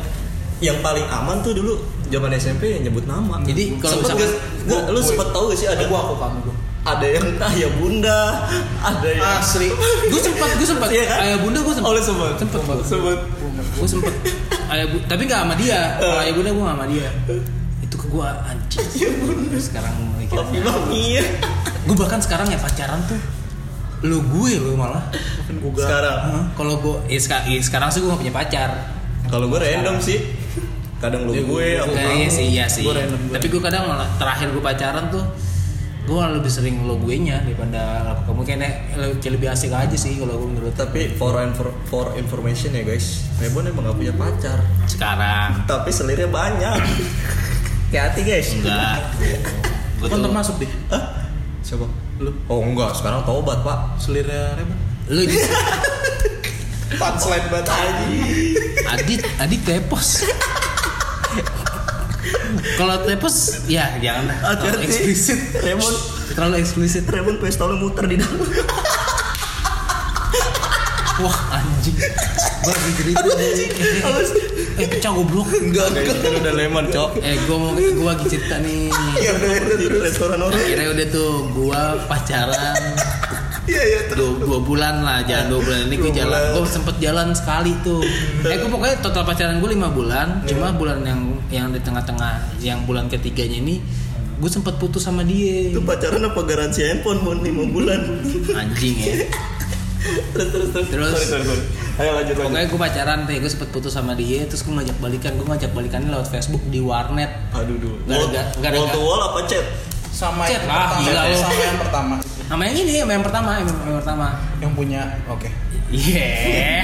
[SPEAKER 3] yang paling aman tuh dulu zaman SMP yang nyebut nama.
[SPEAKER 1] Jadi kalau
[SPEAKER 3] Nah, Sempet
[SPEAKER 1] misalkan-
[SPEAKER 3] nggak- nggak, lu
[SPEAKER 2] Gua-
[SPEAKER 3] sempet tahu gak sih ada
[SPEAKER 2] Gue aku kamu gue.
[SPEAKER 3] ada yang ayah bunda, ada yang
[SPEAKER 2] Asli.
[SPEAKER 1] Gue sempat, gue sempat.
[SPEAKER 3] Iya kan?
[SPEAKER 1] Ayah bunda gue sempat.
[SPEAKER 3] Oh, lu sempet?
[SPEAKER 1] Sempet. gua.
[SPEAKER 3] sebut
[SPEAKER 1] Gue sempet. Ayah bu, tapi nggak sama dia. Kalau ayah bunda gue nggak sama dia. Itu ke gue anjing.
[SPEAKER 3] Iya,
[SPEAKER 1] Sekarang
[SPEAKER 3] Papi
[SPEAKER 1] mikirnya.
[SPEAKER 3] Mami.
[SPEAKER 1] Gue bahkan sekarang ya pacaran tuh lu gue lu malah
[SPEAKER 2] Kan gue
[SPEAKER 3] Sekarang
[SPEAKER 1] Heeh, kalau gue ya, seka- ya sekarang sih gue gak punya pacar
[SPEAKER 3] kalau gue random sih. Kadang lu
[SPEAKER 1] Iya,
[SPEAKER 3] gue, aku
[SPEAKER 1] kayaknya
[SPEAKER 3] kamu.
[SPEAKER 1] sih iya sih
[SPEAKER 2] Gue random, gue
[SPEAKER 1] tapi gue kadang malah terakhir gue pacaran tuh gue malah lebih sering lo gue nya daripada lo kamu kayaknya lebih, lebih asik aja sih kalau gue menurut
[SPEAKER 3] Tapi for, infor- for information ya guys, Rebon emang gak punya pacar.
[SPEAKER 1] sekarang
[SPEAKER 3] Tapi selirnya banyak. Hati-hati guys.
[SPEAKER 1] enggak Gua
[SPEAKER 2] Kan
[SPEAKER 1] tuh-
[SPEAKER 2] termasuk deh.
[SPEAKER 3] Hah? Siapa?
[SPEAKER 2] Lu.
[SPEAKER 3] Oh enggak, sekarang tobat pak.
[SPEAKER 2] Selirnya Reban.
[SPEAKER 1] lu just-
[SPEAKER 3] Punchline banget aja.
[SPEAKER 1] adit adit tepos kalau tepos ya jangan dah terlalu eksplisit
[SPEAKER 3] Remon,
[SPEAKER 1] terlalu eksplisit
[SPEAKER 3] Remon pistolnya muter di dalam.
[SPEAKER 1] wah anjing baru cerita
[SPEAKER 3] Awas.
[SPEAKER 1] eh pecah goblok
[SPEAKER 3] Enggak, enggak.
[SPEAKER 1] kan
[SPEAKER 3] Itu udah lemon, cok.
[SPEAKER 1] eh gue mau gue lagi cerita nih
[SPEAKER 3] Iya, terus restoran orang.
[SPEAKER 1] akhirnya udah tuh gue pacaran
[SPEAKER 3] Iya, iya.
[SPEAKER 1] dua, dua bulan lah jalan dua bulan ini gue
[SPEAKER 3] Dua
[SPEAKER 1] jalan
[SPEAKER 3] bulan.
[SPEAKER 1] gue sempet jalan sekali tuh eh gue pokoknya total pacaran gue lima bulan
[SPEAKER 3] Iya.
[SPEAKER 1] cuma bulan yang yang di tengah-tengah yang bulan ketiganya ini gue sempet putus sama dia
[SPEAKER 3] Itu pacaran apa garansi handphone mon 5 bulan.
[SPEAKER 1] anjing ya
[SPEAKER 3] Terus terus terus.
[SPEAKER 1] Terus.
[SPEAKER 3] Sorry, sorry, sorry. Ayo lanjut lanjut.
[SPEAKER 1] pokoknya gue pacaran deh gue sempet putus sama dia terus gue ngajak balikan gue ngajak balikannya lewat Facebook di warnet
[SPEAKER 3] Aduh, duh.
[SPEAKER 1] Nggak ada-
[SPEAKER 3] Wall,
[SPEAKER 1] nggak- nggak ada-
[SPEAKER 3] wall to wall apa chat?
[SPEAKER 2] Sama
[SPEAKER 1] Chat
[SPEAKER 2] yang
[SPEAKER 1] lah,
[SPEAKER 2] pertama.
[SPEAKER 1] gila lu.
[SPEAKER 2] Sama yang pertama.
[SPEAKER 1] sama yang ini sama yang pertama yang, yang pertama
[SPEAKER 2] Yang punya. Oke.
[SPEAKER 1] iya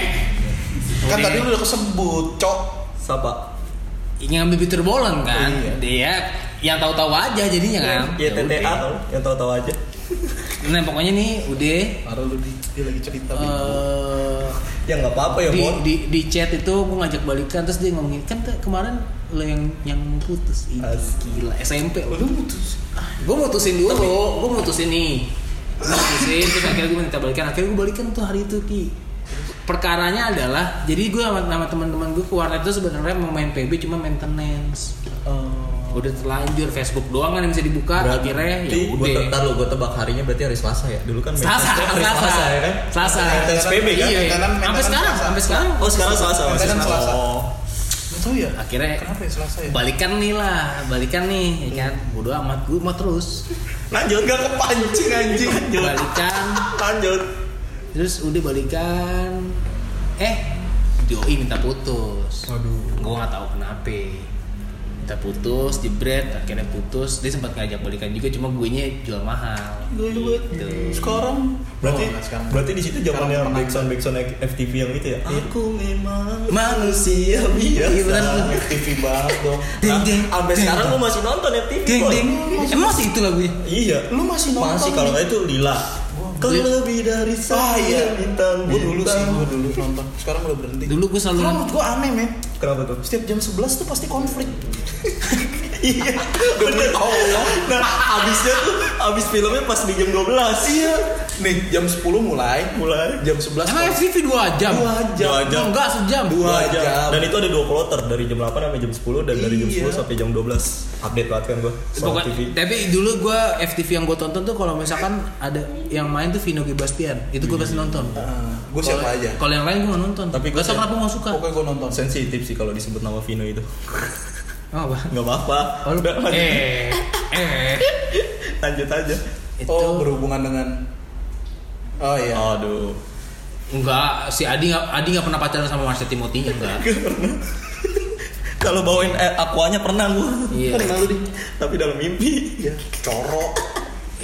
[SPEAKER 2] Kan
[SPEAKER 1] Udah.
[SPEAKER 2] tadi lu udah kesebut, cok.
[SPEAKER 3] Siapa?
[SPEAKER 1] ingin Iya, ambil bitter bolen kan
[SPEAKER 2] Iya.
[SPEAKER 1] dia yang tahu-tahu aja jadinya kan Ya
[SPEAKER 3] Ya TTA
[SPEAKER 1] udah.
[SPEAKER 3] tau, yang tahu-tahu aja.
[SPEAKER 1] nah pokoknya nih eh, udah
[SPEAKER 2] Baru lu di- dia lagi cerita. Bin.
[SPEAKER 1] eh,
[SPEAKER 3] Ya nggak apa-apa ya,
[SPEAKER 1] di,
[SPEAKER 3] Mon.
[SPEAKER 1] di, di chat itu gue ngajak balikan terus dia ngomongin kan tuh kemarin lo yang yang putus itu
[SPEAKER 3] Asli.
[SPEAKER 1] gila SMP
[SPEAKER 2] Oh, Lu putus.
[SPEAKER 1] gue Ah, mutusin dulu gue mutusin nih Gua mutusin terus akhirnya gue minta balikan akhirnya gue balikan tuh hari itu ki perkaranya adalah jadi gue sama, sama teman-teman gue ke warnet itu sebenarnya mau main PB cuma maintenance
[SPEAKER 2] Eh,
[SPEAKER 1] udah terlanjur Facebook doang kan yang bisa dibuka akhirnya ya
[SPEAKER 3] gue
[SPEAKER 1] udah
[SPEAKER 3] ntar lo gue tebak harinya berarti hari Selasa ya. Dulu kan
[SPEAKER 1] Selasa,
[SPEAKER 3] Mei- hari
[SPEAKER 1] Selasa,
[SPEAKER 3] Selasa ya kan?
[SPEAKER 1] Selasa.
[SPEAKER 3] Maintenance PB
[SPEAKER 1] Iya,
[SPEAKER 3] kan?
[SPEAKER 1] iya.
[SPEAKER 2] Maintenance-
[SPEAKER 1] Sampai
[SPEAKER 2] maintenance
[SPEAKER 1] sekarang,
[SPEAKER 2] Selasa.
[SPEAKER 1] sampai sekarang.
[SPEAKER 3] Oh sekarang Selasa masih
[SPEAKER 2] Kan Selasa.
[SPEAKER 3] Oh.
[SPEAKER 2] Gak tau ya.
[SPEAKER 1] Akhirnya-
[SPEAKER 2] Kenapa ya Selasa ya?
[SPEAKER 1] Balikan nih lah, balikan nih, ya kan?
[SPEAKER 3] Hmm.
[SPEAKER 1] Bodo amat gue mau terus.
[SPEAKER 3] Lanjut gak kepancing anjing. Lanjut.
[SPEAKER 1] Balikan,
[SPEAKER 3] Lanjut.
[SPEAKER 1] terus udah balikan. Eh, doi minta putus.
[SPEAKER 3] Waduh.
[SPEAKER 1] Gue nggak tahu kenapa. Minta putus, jebret, akhirnya putus. Dia sempat ngajak balikan juga, cuma gue nya jual mahal.
[SPEAKER 2] Gue buat.
[SPEAKER 1] Gitu.
[SPEAKER 2] Sekarang. Oh,
[SPEAKER 3] Berarti
[SPEAKER 2] nggak sekarang.
[SPEAKER 3] berarti di situ zamannya
[SPEAKER 2] Sekarang pernah.
[SPEAKER 3] Backsound Backsound FTV yang gitu ya.
[SPEAKER 2] Iya.
[SPEAKER 3] Aku memang manusia biasa.
[SPEAKER 1] Ah. Iya, bener.
[SPEAKER 2] TV banget dong.
[SPEAKER 1] Ding, ding,
[SPEAKER 3] Nah, Sampai
[SPEAKER 1] ding,
[SPEAKER 3] sekarang
[SPEAKER 1] ding.
[SPEAKER 3] gue masih nonton FTV.
[SPEAKER 1] Ding
[SPEAKER 3] Boy.
[SPEAKER 1] ding. Emang sih itu lagunya?
[SPEAKER 3] Iya.
[SPEAKER 2] Lu masih nonton
[SPEAKER 3] Masih kalau nggak itu lila. Kau
[SPEAKER 1] Iya.
[SPEAKER 3] lebih dari
[SPEAKER 2] Ah
[SPEAKER 3] saya
[SPEAKER 2] iya.
[SPEAKER 3] bintang.
[SPEAKER 2] Gue dulu sih,
[SPEAKER 3] bintang.
[SPEAKER 2] gue dulu nonton. Sekarang udah berhenti.
[SPEAKER 1] Dulu gue selalu
[SPEAKER 2] Karena menurut gue aneh men.
[SPEAKER 3] Kenapa tuh?
[SPEAKER 2] Setiap jam 11 tuh pasti konflik.
[SPEAKER 3] Iya, bener. Allah. Nah, abisnya tuh, abis filmnya pas di jam 12
[SPEAKER 2] Iya. Nih jam 10 mulai.
[SPEAKER 3] mulai.
[SPEAKER 2] Jam 11.
[SPEAKER 1] Emang ya? FTV 2 jam?
[SPEAKER 2] Dua jam.
[SPEAKER 3] Dua jam.
[SPEAKER 1] Oh, enggak sejam.
[SPEAKER 2] Dua
[SPEAKER 3] jam.
[SPEAKER 2] jam.
[SPEAKER 3] Dan itu ada dua kloter dari jam 8 sampai jam 10 dan dari jam
[SPEAKER 2] Iya.
[SPEAKER 3] 10 sampai jam 12. Update banget kan gua soal
[SPEAKER 1] Pokoknya-
[SPEAKER 3] TV.
[SPEAKER 1] tapi dulu gue FTV yang gue tonton tuh kalau misalkan ada yang main tuh Vino Gebastian itu gue pasti nonton
[SPEAKER 2] Ah, Gue siapa aja?
[SPEAKER 1] Kalau yang lain gue gak nonton.
[SPEAKER 3] Tapi
[SPEAKER 1] gak
[SPEAKER 3] gua
[SPEAKER 1] tau
[SPEAKER 3] siap.
[SPEAKER 1] kenapa gue suka.
[SPEAKER 2] Pokoknya gue nonton.
[SPEAKER 3] sensitif sih kalau disebut nama Vino itu
[SPEAKER 1] Oh, apa?
[SPEAKER 3] nggak apa-apa
[SPEAKER 1] Oh, lu-
[SPEAKER 3] Udah, lanjut,
[SPEAKER 1] eh, eh.
[SPEAKER 3] lanjut aja
[SPEAKER 1] Itu
[SPEAKER 2] Oh berhubungan dengan. Oh iya.
[SPEAKER 3] aduh
[SPEAKER 1] enggak si Adi enggak Adi enggak pernah pacaran sama Marsha Timothy enggak.
[SPEAKER 3] kalau bawain air aquanya pernah gua
[SPEAKER 1] Iya.
[SPEAKER 2] Kenal lu di.
[SPEAKER 3] tapi dalam mimpi
[SPEAKER 2] Ya. Corok.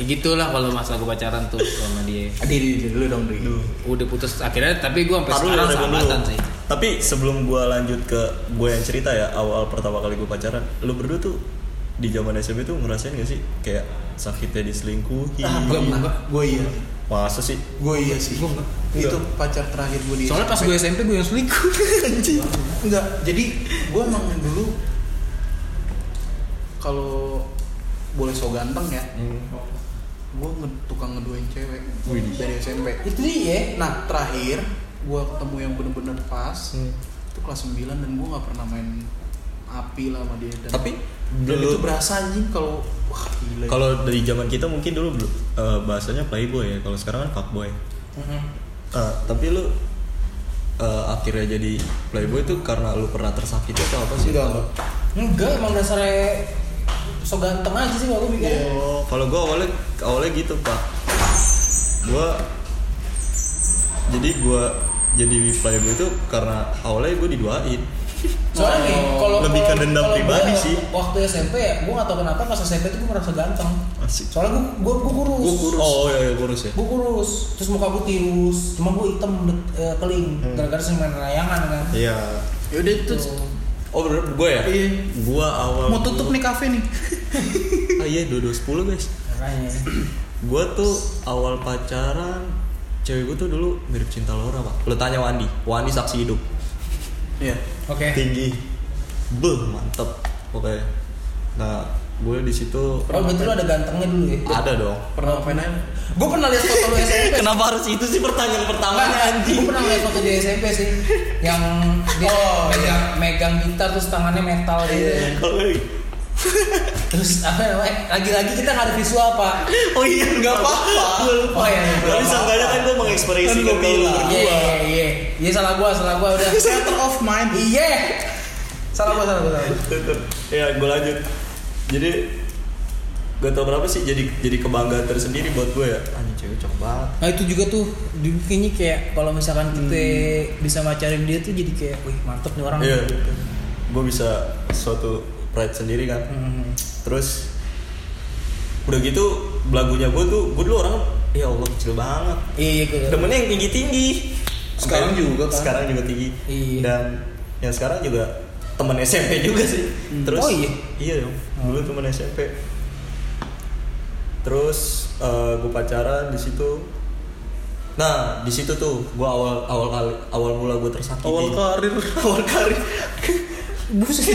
[SPEAKER 1] Ya Gitulah kalau masalah gue pacaran tuh sama dia.
[SPEAKER 2] Adi, Adi, Adi, lu dong, Dri.
[SPEAKER 1] Udah putus akhirnya tapi gue sampai
[SPEAKER 3] Taruh dulu,
[SPEAKER 1] sekarang
[SPEAKER 3] taruh dulu.
[SPEAKER 1] sahabatan sih.
[SPEAKER 3] Tapi sebelum gua lanjut ke gue yang cerita ya awal pertama kali gue pacaran, lu berdua tuh di zaman SMP tuh ngerasain gak sih kayak sakitnya diselingkuhi?
[SPEAKER 2] Ah, gue enggak. Gue iya.
[SPEAKER 3] Masa sih?
[SPEAKER 2] Gue iya sih.
[SPEAKER 1] Gua enggak.
[SPEAKER 2] Itu pacar terakhir gue di.
[SPEAKER 1] Iya. Soalnya pas gue SMP gue yang selingkuh.
[SPEAKER 3] Anjing.
[SPEAKER 2] Enggak, jadi gue emang dulu kalau boleh so ganteng ya, gue tukang ngeduain cewek
[SPEAKER 3] Hmm. Widih.
[SPEAKER 2] dari SMP.
[SPEAKER 1] Itu dia. ya?
[SPEAKER 2] Nah terakhir gue ketemu yang bener-bener pas
[SPEAKER 3] Hmm.
[SPEAKER 2] itu kelas 9 dan gue nggak pernah main api lah sama dia. Dan,
[SPEAKER 3] Tapi
[SPEAKER 2] dan
[SPEAKER 3] dulu-
[SPEAKER 2] itu berasa anjing kalau wah gila. ya.
[SPEAKER 3] Kalau dari zaman kita mungkin dulu belum- eh, bahasanya playboy ya, kalau sekarang kan fuckboy.
[SPEAKER 2] Mhm.
[SPEAKER 3] Eh, tapi lu eh, akhirnya jadi playboy tuh karena lu pernah tersakiti atau apa sih?
[SPEAKER 2] Enggak, enggak.
[SPEAKER 1] Hmm. Enggak emang dasarnya so ganteng aja sih kalau gue
[SPEAKER 2] Iya.
[SPEAKER 3] Oh, kalau gue awalnya awalnya gitu pak. Gue jadi gue jadi playboy itu karena awalnya gue diduain.
[SPEAKER 1] Soalnya nih, kalau
[SPEAKER 3] Oh, Lebih ke
[SPEAKER 1] kalau-
[SPEAKER 3] dendam
[SPEAKER 1] kalau
[SPEAKER 3] pribadi
[SPEAKER 1] gua
[SPEAKER 3] sih.
[SPEAKER 1] Waktu SMP ya, gue gak tau kenapa pas SMP itu gue merasa ganteng.
[SPEAKER 3] Asik.
[SPEAKER 1] Soalnya gue gue gue kurus.
[SPEAKER 3] Gue kurus. Oh iya, iya kurus ya.
[SPEAKER 1] Gue kurus, terus muka gue tirus, cuma gue hitam bet- eh, keling,
[SPEAKER 3] Hmm.
[SPEAKER 1] gara-gara sering main layangan kan. Gitu.
[SPEAKER 3] Iya.
[SPEAKER 2] Yaudah itu
[SPEAKER 3] Oh bener gue ya?
[SPEAKER 2] Iya.
[SPEAKER 3] Gue awal.
[SPEAKER 2] mau tutup nih kafe nih.
[SPEAKER 3] Ah iya dua dua sepuluh guys.
[SPEAKER 1] Makanya.
[SPEAKER 3] Gue tuh awal pacaran cewek gue tuh dulu mirip cinta Laura pak. Lo tanya Wandi. Wandi saksi hidup.
[SPEAKER 2] Iya.
[SPEAKER 1] Oke.
[SPEAKER 3] Tinggi. Beh mantep. Oke. Nah gue di situ
[SPEAKER 1] Oh betul lu ada gantengnya dulu ya.
[SPEAKER 3] ada dong.
[SPEAKER 2] Pernah ngapain aja?
[SPEAKER 1] Gue pernah lihat foto lu SMP.
[SPEAKER 3] Kenapa harus itu sih pertanyaan pertamanya
[SPEAKER 1] Gue
[SPEAKER 3] anjing?
[SPEAKER 1] pernah lihat foto di SMP sih, yang dia
[SPEAKER 2] Oh, iya.
[SPEAKER 1] megang, megang gitar terus tangannya metal gitu. Terus apa namanya? Eh, Lagi-lagi kita nggak ada visual pak.
[SPEAKER 3] Oh iya nggak apa-apa. Gua
[SPEAKER 1] Oh iya. iya.
[SPEAKER 3] Tapi seenggaknya kan gue mengekspresikan
[SPEAKER 2] Kan gua bilang.
[SPEAKER 3] kalau
[SPEAKER 1] Iya, iya, iya. Iya salah gua, salah gua udah.
[SPEAKER 2] Center of mind.
[SPEAKER 1] Iya. Salah gua, salah gua, salah gua.
[SPEAKER 3] berdua. Ya gue lanjut. Jadi gak tau kenapa sih jadi jadi kebanggaan tersendiri buat gue ya. Anjing cewek cocok banget.
[SPEAKER 1] Nah itu juga tuh di- kayaknya kayak kalau misalkan kita
[SPEAKER 2] Hmm.
[SPEAKER 1] bisa macarin dia tuh jadi kayak, wih mantep nih orang.
[SPEAKER 3] Iya. Gue bisa suatu pride sendiri kan.
[SPEAKER 1] Hmm.
[SPEAKER 3] Terus udah gitu lagunya gue tuh gue dulu orang ya Allah kecil banget.
[SPEAKER 1] Iya, iya, iya.
[SPEAKER 3] demennya yang tinggi tinggi
[SPEAKER 2] Sekarang juga, kan?
[SPEAKER 3] sekarang juga tinggi
[SPEAKER 1] Iya.
[SPEAKER 3] dan yang sekarang juga temen SMP juga sih
[SPEAKER 2] Hmm.
[SPEAKER 3] terus
[SPEAKER 1] Oh, iya?
[SPEAKER 3] dong dulu
[SPEAKER 2] Oh.
[SPEAKER 3] temen SMP terus gue pacaran di situ nah di situ tuh gue awal awal kali awal mula gue tersakiti
[SPEAKER 2] Awal karir.
[SPEAKER 3] awal karir
[SPEAKER 1] Buset.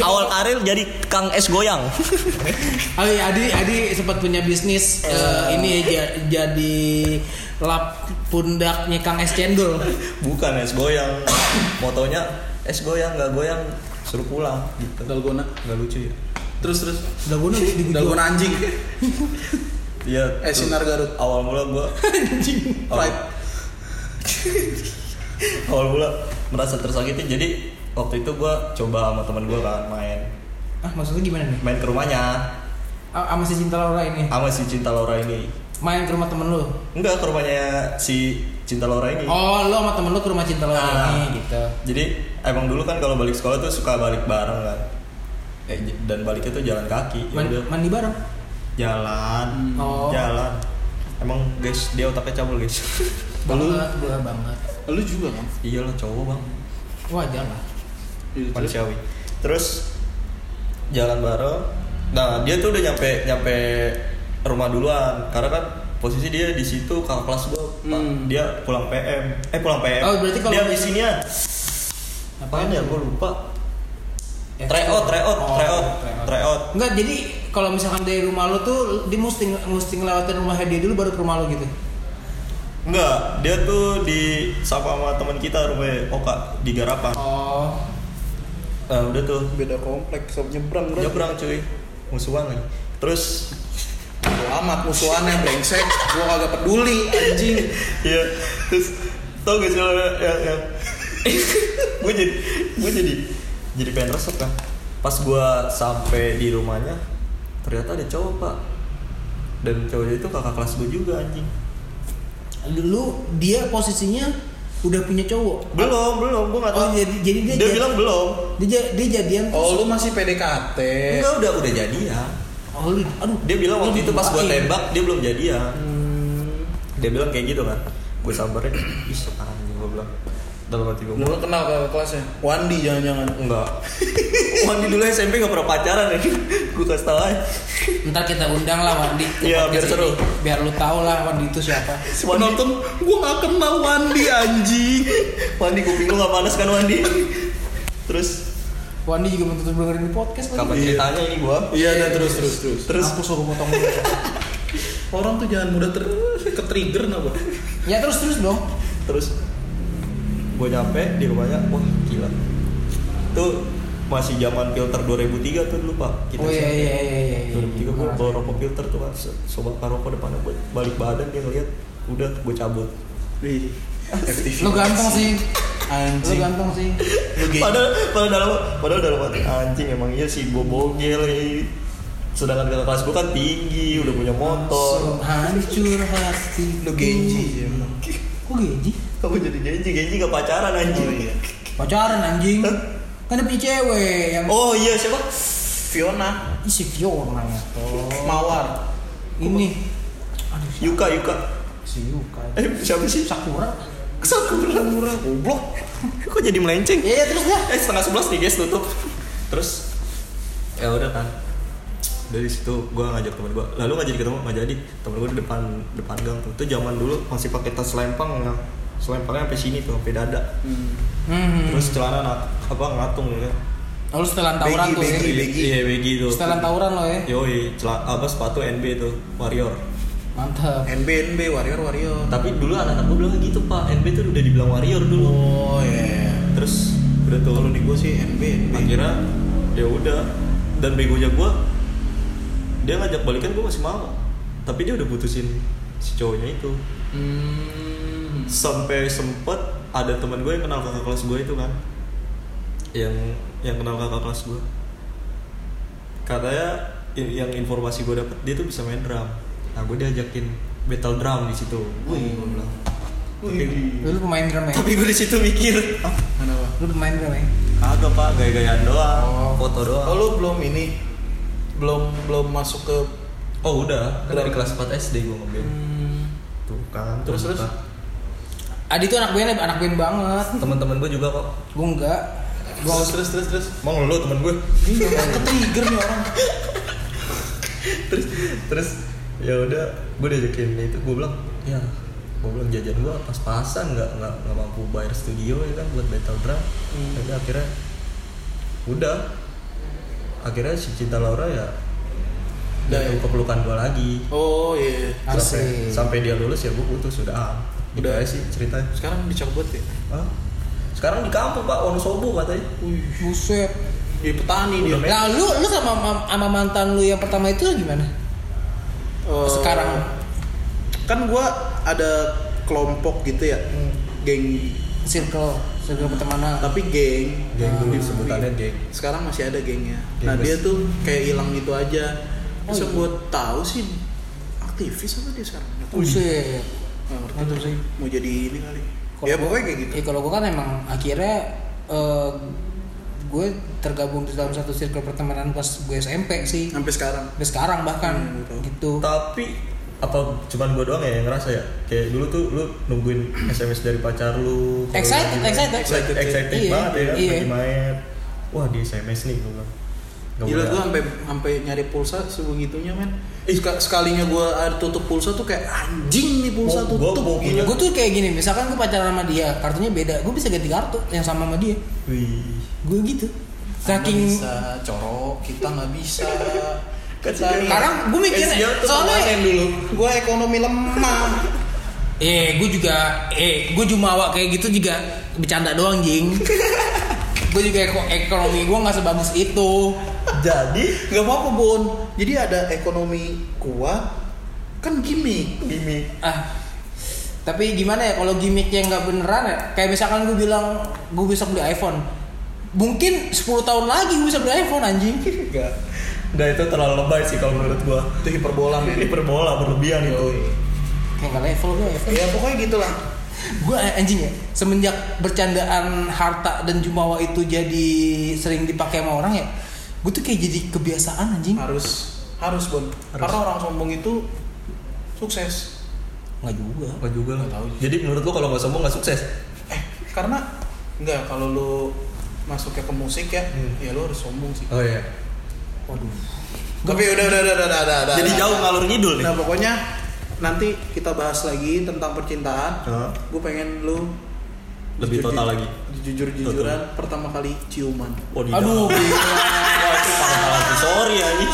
[SPEAKER 3] awal karir jadi kang es goyang
[SPEAKER 1] Oh iya, Adi, Adi sempat punya bisnis eh, ini ya, ja- jadi lap pundaknya Kang Es Cendol.
[SPEAKER 3] bukan es goyang motonya es goyang nggak goyang suruh pulang gitu
[SPEAKER 2] Dalgona.
[SPEAKER 3] nggak lucu ya
[SPEAKER 2] Terus terus.
[SPEAKER 1] Dalgona di
[SPEAKER 2] Dalgona anjing.
[SPEAKER 3] Iya.
[SPEAKER 2] Eh,
[SPEAKER 3] tuh.
[SPEAKER 2] Sinar Garut.
[SPEAKER 3] Awal mula gua
[SPEAKER 1] Anjing.
[SPEAKER 3] awal,
[SPEAKER 2] Pride.
[SPEAKER 3] awal mula merasa tersakiti. Jadi waktu itu gua coba sama teman gua kan main
[SPEAKER 1] Ah, maksudnya gimana nih?
[SPEAKER 3] main ke rumahnya
[SPEAKER 1] Ah, Sama si Cinta Laura ini.
[SPEAKER 3] sama si Cinta Laura ini.
[SPEAKER 1] Main ke rumah temen lu.
[SPEAKER 3] Enggak ke rumahnya si Cinta Laura ini.
[SPEAKER 1] Oh, lu sama temen lu ke rumah Cinta Laura
[SPEAKER 3] Ah.
[SPEAKER 1] ini gitu.
[SPEAKER 3] Jadi emang dulu kan kalau balik sekolah tuh suka balik bareng kan. Eh, j- dan baliknya tuh jalan kaki. Ya
[SPEAKER 1] Man-
[SPEAKER 3] udah.
[SPEAKER 1] mandi bareng.
[SPEAKER 3] Jalan.
[SPEAKER 1] Oh.
[SPEAKER 3] Jalan. Emang guys, dia otaknya cabul guys.
[SPEAKER 1] Banget, gua banget.
[SPEAKER 2] Lu juga kan?
[SPEAKER 3] Iyalah Iya cowok bang.
[SPEAKER 1] Wajar lah.
[SPEAKER 2] Iya, terus.
[SPEAKER 3] manusiawi terus jalan bareng nah dia tuh udah nyampe nyampe rumah duluan karena kan posisi dia di situ kakak kelas gua Pak.
[SPEAKER 2] Hmm.
[SPEAKER 3] dia pulang PM eh pulang PM
[SPEAKER 1] Oh, berarti kalau-
[SPEAKER 3] dia ya? disinian apaan ya gua lupa tryout tryout
[SPEAKER 1] Oh,
[SPEAKER 3] tryout
[SPEAKER 1] tryout.
[SPEAKER 3] tryout
[SPEAKER 1] Enggak, jadi kalau misalkan dari rumah lu tuh di mesti mesti ngelewatin rumah dia dulu baru ke rumah lu gitu.
[SPEAKER 3] enggak dia tuh di sama sama teman kita rumah Oka di Garapan
[SPEAKER 1] Oh.
[SPEAKER 3] nah udah tuh
[SPEAKER 2] Iya, Beda kompleks, sob nyebrang, bro.
[SPEAKER 3] nyebrang cuy musuhan lagi terus
[SPEAKER 2] bodo amat musuhannya brengsek gua kagak peduli anjing
[SPEAKER 3] Iya. Terus tau gak sih lo yang, yang gue jadi gue jadi jadi pengen resep kan. Pas gue sampai di rumahnya ternyata ada cowok pak. Dan cowoknya itu kakak kelas gue juga anjing.
[SPEAKER 1] Dulu dia posisinya udah punya cowok.
[SPEAKER 3] Belum belum gue nggak tahu.
[SPEAKER 1] Oh, jadi- jadi dia-
[SPEAKER 3] dia
[SPEAKER 1] jadi-
[SPEAKER 3] bilang belum.
[SPEAKER 1] Dia ja- dia jadian tuh-
[SPEAKER 2] oh lu masih PDKT
[SPEAKER 3] Enggak udah udah jadian.
[SPEAKER 1] Oh, lu- aduh.
[SPEAKER 3] Dia bilang
[SPEAKER 1] lu
[SPEAKER 3] waktu itu pas gue
[SPEAKER 1] dibuain.
[SPEAKER 3] tembak dia belum jadian.
[SPEAKER 1] Hmm.
[SPEAKER 3] Dia bilang kayak gitu kan. Gue samperin, ih anjing gue bilang dalam hati gue.
[SPEAKER 2] lu kenal kakak kelasnya Wandi jangan-jangan
[SPEAKER 3] Enggak. Wandi dulu SMP gak pernah pacaran ya. Gue kasih tau aja.
[SPEAKER 1] Ntar kita undang lah Wandi. ke
[SPEAKER 3] Iya,
[SPEAKER 1] podcast
[SPEAKER 3] biar seru.
[SPEAKER 1] ini. Biar lu tau lah Wandi itu siapa.
[SPEAKER 2] penonton gua gak kenal Wandi anjing
[SPEAKER 3] Wandi kuping lu gak panas kan Wandi? Terus
[SPEAKER 1] Wandi juga mau tetap dengerin di podcast lagi.
[SPEAKER 3] kapan ceritanya ini gua?
[SPEAKER 2] iya dan terus terus terus
[SPEAKER 3] Terus
[SPEAKER 1] Mampus aku potong.
[SPEAKER 2] orang tuh jangan mudah ter ke trigger napa
[SPEAKER 1] ya terus terus dong.
[SPEAKER 3] terus gua nyampe di rumahnya, wah gila. Tuh masih zaman filter 2003 tuh dulu Pak.
[SPEAKER 1] Oh iya iya iya iya. iya.
[SPEAKER 3] 2003 gua bawa rokok filter tuh kan so- sobat rokok depannya gua balik badan dia ngeliat udah gua cabut.
[SPEAKER 2] Wih, FTV.
[SPEAKER 1] Lu ganteng sih. Lu
[SPEAKER 2] anjing
[SPEAKER 1] ganteng sih.
[SPEAKER 2] Lu gay.
[SPEAKER 3] Padahal padahal dalam padahal dalam hati anjing emang iya sih gua bogel ya. Sedangkan kakak kelas gua kan tinggi, udah punya motor.
[SPEAKER 1] Hancur hati.
[SPEAKER 2] Oh. lu genji ya emang.
[SPEAKER 1] Kok genji?
[SPEAKER 3] Kamu jadi genji, genji gak pacaran anjing.
[SPEAKER 2] oh iya
[SPEAKER 1] Pacaran anjing. Kan dia punya cewek yang
[SPEAKER 3] Oh iya siapa?
[SPEAKER 2] Fiona
[SPEAKER 1] Ih, si Fiona ya.
[SPEAKER 2] Mawar
[SPEAKER 1] Ini. Aduh si-
[SPEAKER 3] Yuka Yuka.
[SPEAKER 1] si Yuka.
[SPEAKER 3] Eh siapa sih?
[SPEAKER 1] Sakura.
[SPEAKER 3] Sakura. Sakura. Goblok. Kok jadi melenceng?
[SPEAKER 1] Ya ya terus dah.
[SPEAKER 3] Eh setengah sebelas nih guys tutup. Terus ya udah kan. Dari situ gua ngajak teman gua. Lalu nggak jadi ketemu, nggak jadi. Temen gua di depan depan gang tuh. Itu zaman dulu masih pakai tas selempang yang selempangnya sampai sini tuh, sampai dada.
[SPEAKER 1] Hmm.
[SPEAKER 3] Terus celana nat, apa ngatung ya.
[SPEAKER 1] Oh, lu setelan tawuran
[SPEAKER 2] Begi,
[SPEAKER 1] tuh ya.
[SPEAKER 2] begi.
[SPEAKER 3] Iya, begi tuh.
[SPEAKER 1] Setelan tawuran lo ya.
[SPEAKER 3] Yoi, celana apa sepatu NB tuh, Warrior.
[SPEAKER 1] Mantap.
[SPEAKER 2] NB NB Warrior Warrior
[SPEAKER 3] Tapi dulu anak-anak gue bilang gitu pak, NB tuh udah dibilang warrior dulu.
[SPEAKER 2] oh iya
[SPEAKER 3] Terus udah tuh
[SPEAKER 2] kalau di gua sih NB NB
[SPEAKER 3] akhirnya ya udah dan begonya gue dia ngajak balikan gue masih mau tapi dia udah putusin si cowoknya itu
[SPEAKER 2] Hmm.
[SPEAKER 3] sampai sempet ada teman gue yang kenal kakak kelas gue itu kan yang yang kenal kakak kelas gue katanya i- yang informasi gue dapet dia tuh bisa main drum nah gue diajakin battle drum di situ wih gue bilang
[SPEAKER 2] Wih.
[SPEAKER 1] Lu pemain drum ya.
[SPEAKER 3] tapi gue di situ mikir "Ah,
[SPEAKER 2] Kenapa?
[SPEAKER 1] Lu pemain drum ya.
[SPEAKER 3] Kagak pak, gaya-gayaan doang,
[SPEAKER 1] Oh.
[SPEAKER 3] foto doang.
[SPEAKER 2] Oh lu belum ini belum belum masuk ke
[SPEAKER 3] Oh, udah, kan dari kelas 4 SD gue ngeband.
[SPEAKER 2] Hmm.
[SPEAKER 3] Tuh kan,
[SPEAKER 2] Terus, terus?
[SPEAKER 1] Adi tuh anak band anak band banget.
[SPEAKER 3] Teman-teman gue juga kok.
[SPEAKER 1] Gua enggak. Gua
[SPEAKER 2] terus terus terus terus.
[SPEAKER 3] Mau lu temen gue.
[SPEAKER 2] Ini yang ke trigger nih orang.
[SPEAKER 3] terus terus ya udah, gue diajakin itu gue bilang, ya gue bilang jajan gue pas-pasan nggak nggak nggak mampu bayar studio ya kan buat battle drum.
[SPEAKER 2] Hmm.
[SPEAKER 3] Tapi akhirnya udah akhirnya si cinta Laura ya
[SPEAKER 2] Udah,
[SPEAKER 3] jatuh
[SPEAKER 2] ya?
[SPEAKER 3] ke pelukan gue lagi
[SPEAKER 2] Oh iya.
[SPEAKER 3] sampai,
[SPEAKER 1] Asik.
[SPEAKER 3] sampai dia lulus ya gue putus udah
[SPEAKER 2] Udah.
[SPEAKER 3] udah sih ceritanya
[SPEAKER 2] Sekarang dicabut ya.
[SPEAKER 3] Hah? Sekarang di kampung Pak Wonosobo katanya.
[SPEAKER 2] Wih,
[SPEAKER 1] buset.
[SPEAKER 2] di Iya, petani dia.
[SPEAKER 3] Udah main.
[SPEAKER 1] Nah, lu lu sama mam- sama mantan lu yang pertama itu gimana?
[SPEAKER 2] Eh,
[SPEAKER 1] Sekarang.
[SPEAKER 2] kan gua ada kelompok gitu ya.
[SPEAKER 3] Hmm.
[SPEAKER 2] Geng
[SPEAKER 1] Circle, circle
[SPEAKER 2] Hmm.
[SPEAKER 1] pertemanan.
[SPEAKER 2] tapi geng
[SPEAKER 3] Ah. Geng dulu
[SPEAKER 2] Di-
[SPEAKER 3] sebutannya geng.
[SPEAKER 2] sekarang masih ada gengnya
[SPEAKER 3] Geng
[SPEAKER 2] nah dia
[SPEAKER 3] bes-
[SPEAKER 2] tuh kayak hilang gitu aja
[SPEAKER 1] Oh,
[SPEAKER 2] terus
[SPEAKER 1] iya.
[SPEAKER 2] gua tahu sih aktivis apa dia sekarang Nggak tahu.
[SPEAKER 3] Oh, iya.
[SPEAKER 1] Buset.
[SPEAKER 2] Nggak ngerti.
[SPEAKER 1] Mantap sih.
[SPEAKER 2] mau jadi ini kali
[SPEAKER 1] Kalau
[SPEAKER 2] Gitu ya
[SPEAKER 1] gua-
[SPEAKER 2] pokoknya kayak gitu
[SPEAKER 1] Ya kalau gue kan emang akhirnya eh, gue tergabung di dalam satu circle pertemanan pas gue SMP sih.
[SPEAKER 2] sampai sekarang
[SPEAKER 1] Sampai sekarang bahkan
[SPEAKER 2] Hmm,
[SPEAKER 1] gitu.
[SPEAKER 3] Tapi apa cuman gua doang ya yang ngerasa ya? Kayak dulu tuh lu nungguin SMS dari pacar lu. kalau
[SPEAKER 1] Excited,
[SPEAKER 3] lagi-
[SPEAKER 1] excited.
[SPEAKER 3] excited, excited
[SPEAKER 1] Iya,
[SPEAKER 3] banget ya kan
[SPEAKER 1] iya.
[SPEAKER 3] lagi main. Wah, di SMS nih gua bilang. Nggak
[SPEAKER 2] Gila
[SPEAKER 3] boleh.
[SPEAKER 2] gue sampai sampai nyari pulsa sebegitunya men. Ih, sek- sekalinya gue tutup pulsa tuh kayak anjing nih pulsa
[SPEAKER 3] Gua- gua
[SPEAKER 2] tutup.
[SPEAKER 3] mau punya-
[SPEAKER 2] gila.
[SPEAKER 1] Gue tuh kayak gini, misalkan gue pacaran sama dia, kartunya beda, gue bisa ganti kartu yang sama sama dia.
[SPEAKER 3] Wih.
[SPEAKER 1] Gue gitu.
[SPEAKER 2] Anda
[SPEAKER 1] Saking
[SPEAKER 2] bisa corok, kita nggak bisa.
[SPEAKER 3] Kan
[SPEAKER 2] Kita
[SPEAKER 3] sejauh-
[SPEAKER 2] nih-
[SPEAKER 1] Sekarang gue mikir
[SPEAKER 3] SEO tuh
[SPEAKER 1] soalnya
[SPEAKER 3] kemarin dulu.
[SPEAKER 2] gue ekonomi lemah.
[SPEAKER 1] eh gue juga eh gue jumawa kayak gitu juga bercanda doang jing. gue juga eko- ekonomi gue nggak sebagus itu.
[SPEAKER 3] Jadi
[SPEAKER 2] Gak apa-apa Bon. Jadi ada ekonomi kuat, kan gimmick
[SPEAKER 3] gimmick
[SPEAKER 1] ah tapi gimana ya kalau gimmicknya nggak beneran ya kayak misalkan gue bilang gue bisa beli iPhone mungkin 10 tahun lagi gue bisa beli iPhone anjing
[SPEAKER 2] enggak
[SPEAKER 3] Nggak itu terlalu lebay sih kalau menurut gua
[SPEAKER 2] itu hiperbola men
[SPEAKER 3] ini perbola berlebihan itu
[SPEAKER 1] kayak nggak level gue iPhone
[SPEAKER 2] ya pokoknya gitulah
[SPEAKER 1] gue anjing ya semenjak bercandaan harta dan jumawa itu jadi sering dipakai sama orang ya gue tuh kayak jadi kebiasaan anjing
[SPEAKER 2] harus harus bon
[SPEAKER 3] Harus.
[SPEAKER 2] karena orang sombong itu sukses
[SPEAKER 1] nggak juga
[SPEAKER 3] Gak juga lah
[SPEAKER 2] Nggak tahu.
[SPEAKER 3] jadi menurut lo kalau nggak sombong nggak sukses
[SPEAKER 2] eh karena enggak kalau lu masuknya ke musik ya
[SPEAKER 3] Hmm.
[SPEAKER 2] ya lu harus sombong sih
[SPEAKER 3] oh iya
[SPEAKER 1] waduh
[SPEAKER 2] tapi udah udah udah udah udah, udah, udah.
[SPEAKER 3] jadi jauh ngalur ngidul nih
[SPEAKER 2] nah pokoknya nanti kita bahas lagi tentang percintaan
[SPEAKER 3] Hah?
[SPEAKER 2] gue pengen lu
[SPEAKER 3] Lebih total lagi.
[SPEAKER 2] jujur jujuran pertama kali ciuman
[SPEAKER 3] Wadidaw.
[SPEAKER 1] aduh
[SPEAKER 3] Wah, itu parah banget. sorry ya ini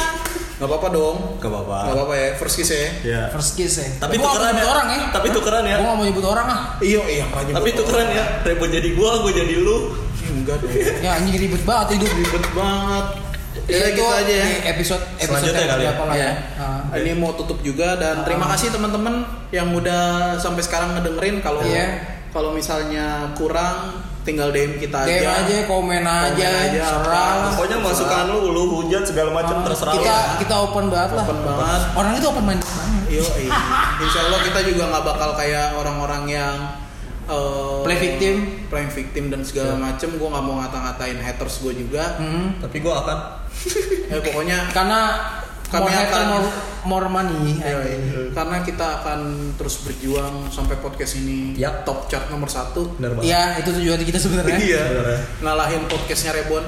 [SPEAKER 2] nggak apa apa dong
[SPEAKER 3] gak apa-apa
[SPEAKER 2] nggak apa apa ya first kiss ya
[SPEAKER 3] ya
[SPEAKER 1] first kiss ya
[SPEAKER 3] tapi
[SPEAKER 1] Gua nggak
[SPEAKER 3] tukeran
[SPEAKER 1] nyebut
[SPEAKER 3] ya.
[SPEAKER 1] orang ya
[SPEAKER 3] Tapi tukeran ya.
[SPEAKER 1] gue nggak mau nyebut orang ah
[SPEAKER 2] iya iya makanya
[SPEAKER 3] tapi
[SPEAKER 2] buat
[SPEAKER 3] itu keren ya Rebo jadi gua gua jadi lu
[SPEAKER 2] orang. enggak dong
[SPEAKER 1] ya anjing ribet banget hidup
[SPEAKER 2] ribet banget ya
[SPEAKER 1] Ya,
[SPEAKER 2] gitu aja ya
[SPEAKER 1] di episode episode
[SPEAKER 3] Selanjutnya kali ya.
[SPEAKER 1] berapa lah ya.
[SPEAKER 2] Ya.
[SPEAKER 1] Ah.
[SPEAKER 2] Ini mau tutup juga dan terima
[SPEAKER 1] Ah.
[SPEAKER 2] kasih teman-teman yang udah sampai sekarang ngedengerin kalau
[SPEAKER 1] Iya.
[SPEAKER 2] kalau misalnya kurang tinggal DM kita
[SPEAKER 1] DM
[SPEAKER 2] aja.
[SPEAKER 1] aja, komen aja,
[SPEAKER 2] aja,
[SPEAKER 1] serang.
[SPEAKER 2] apa.
[SPEAKER 3] pokoknya masukan lu lu hujan segala macam terserah
[SPEAKER 1] kita
[SPEAKER 3] lu
[SPEAKER 1] kita open banget lah.
[SPEAKER 2] Open banget.
[SPEAKER 1] Orang itu open minded banget.
[SPEAKER 2] Yo, iya. Insya Allah kita juga nggak bakal kayak orang-orang yang eh,
[SPEAKER 1] Play victim. Iya.
[SPEAKER 2] play victim dan segala macem. Gue nggak mau ngata-ngatain haters gue juga.
[SPEAKER 1] Hmm.
[SPEAKER 3] tapi gua akan
[SPEAKER 2] Eh, pokoknya
[SPEAKER 1] Karena
[SPEAKER 2] Kami
[SPEAKER 1] more hater,
[SPEAKER 2] akan-
[SPEAKER 1] more, more money.
[SPEAKER 2] Iya, iya. karena kita akan terus berjuang sampai podcast ini
[SPEAKER 3] Yap.
[SPEAKER 2] top chart nomor satu.
[SPEAKER 3] benar banget
[SPEAKER 1] Iya, itu tujuan kita sebenarnya.
[SPEAKER 2] Iya.
[SPEAKER 3] Bener ya.
[SPEAKER 2] Ngalahin podcastnya Rebon.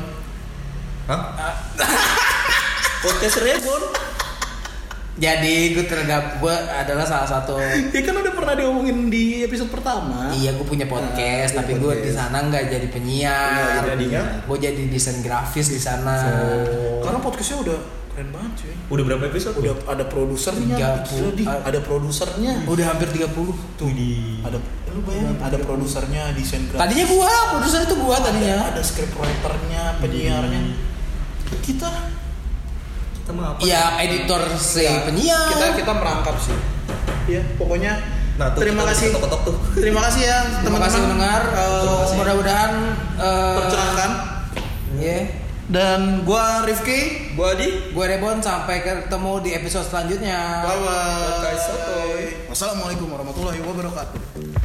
[SPEAKER 3] Hah? podcast Rebon
[SPEAKER 1] Jadi gue tergab gue adalah salah satu
[SPEAKER 2] Ya kan udah pernah diomongin di episode pertama.
[SPEAKER 1] Iya, gue punya podcast,
[SPEAKER 3] Nah,
[SPEAKER 1] tapi
[SPEAKER 3] iya,
[SPEAKER 1] gue
[SPEAKER 3] podcast.
[SPEAKER 1] di sana nggak jadi
[SPEAKER 3] Iya,
[SPEAKER 1] penyiar.
[SPEAKER 3] jadinya?
[SPEAKER 1] Gue jadi desain grafis di
[SPEAKER 3] Ah.
[SPEAKER 1] sana.
[SPEAKER 2] Karena podcastnya udah keren banget cuy.
[SPEAKER 3] udah berapa episode
[SPEAKER 2] Udah ada produsernya,
[SPEAKER 1] Tiga
[SPEAKER 2] gila,
[SPEAKER 1] puluh.
[SPEAKER 2] Di. ada produsernya.
[SPEAKER 1] Udah hampir 30
[SPEAKER 3] tuh di
[SPEAKER 2] Ada eh, lu bayangin ada produsernya, desain grafis.
[SPEAKER 1] Tadinya gua, produser itu gua
[SPEAKER 2] ada,
[SPEAKER 1] tadinya.
[SPEAKER 2] ada script writer-nya, penyiarnya. Kita
[SPEAKER 3] kita mah apa
[SPEAKER 1] Iya, editor si
[SPEAKER 2] Ya,
[SPEAKER 1] penyiar.
[SPEAKER 2] kita kita merangkap sih. Iya, pokoknya
[SPEAKER 3] Nah, tuh,
[SPEAKER 2] terima
[SPEAKER 3] tuh,
[SPEAKER 2] kasih.
[SPEAKER 3] tuh, ketok-ketok tuh.
[SPEAKER 2] Terima kasih ya
[SPEAKER 1] Terima
[SPEAKER 2] teman-teman
[SPEAKER 1] kasih mendengar.
[SPEAKER 2] Eh,
[SPEAKER 1] Eh, Mudah-mudahan eh,
[SPEAKER 2] tercerahkan.
[SPEAKER 1] Iya.
[SPEAKER 2] Dan gua Rifki.
[SPEAKER 3] gua di
[SPEAKER 1] Gue Rebon sampai ketemu di episode selanjutnya.
[SPEAKER 2] Bye bye.
[SPEAKER 3] Podcast Sotoy.
[SPEAKER 2] Wassalamualaikum warahmatullahi wabarakatuh.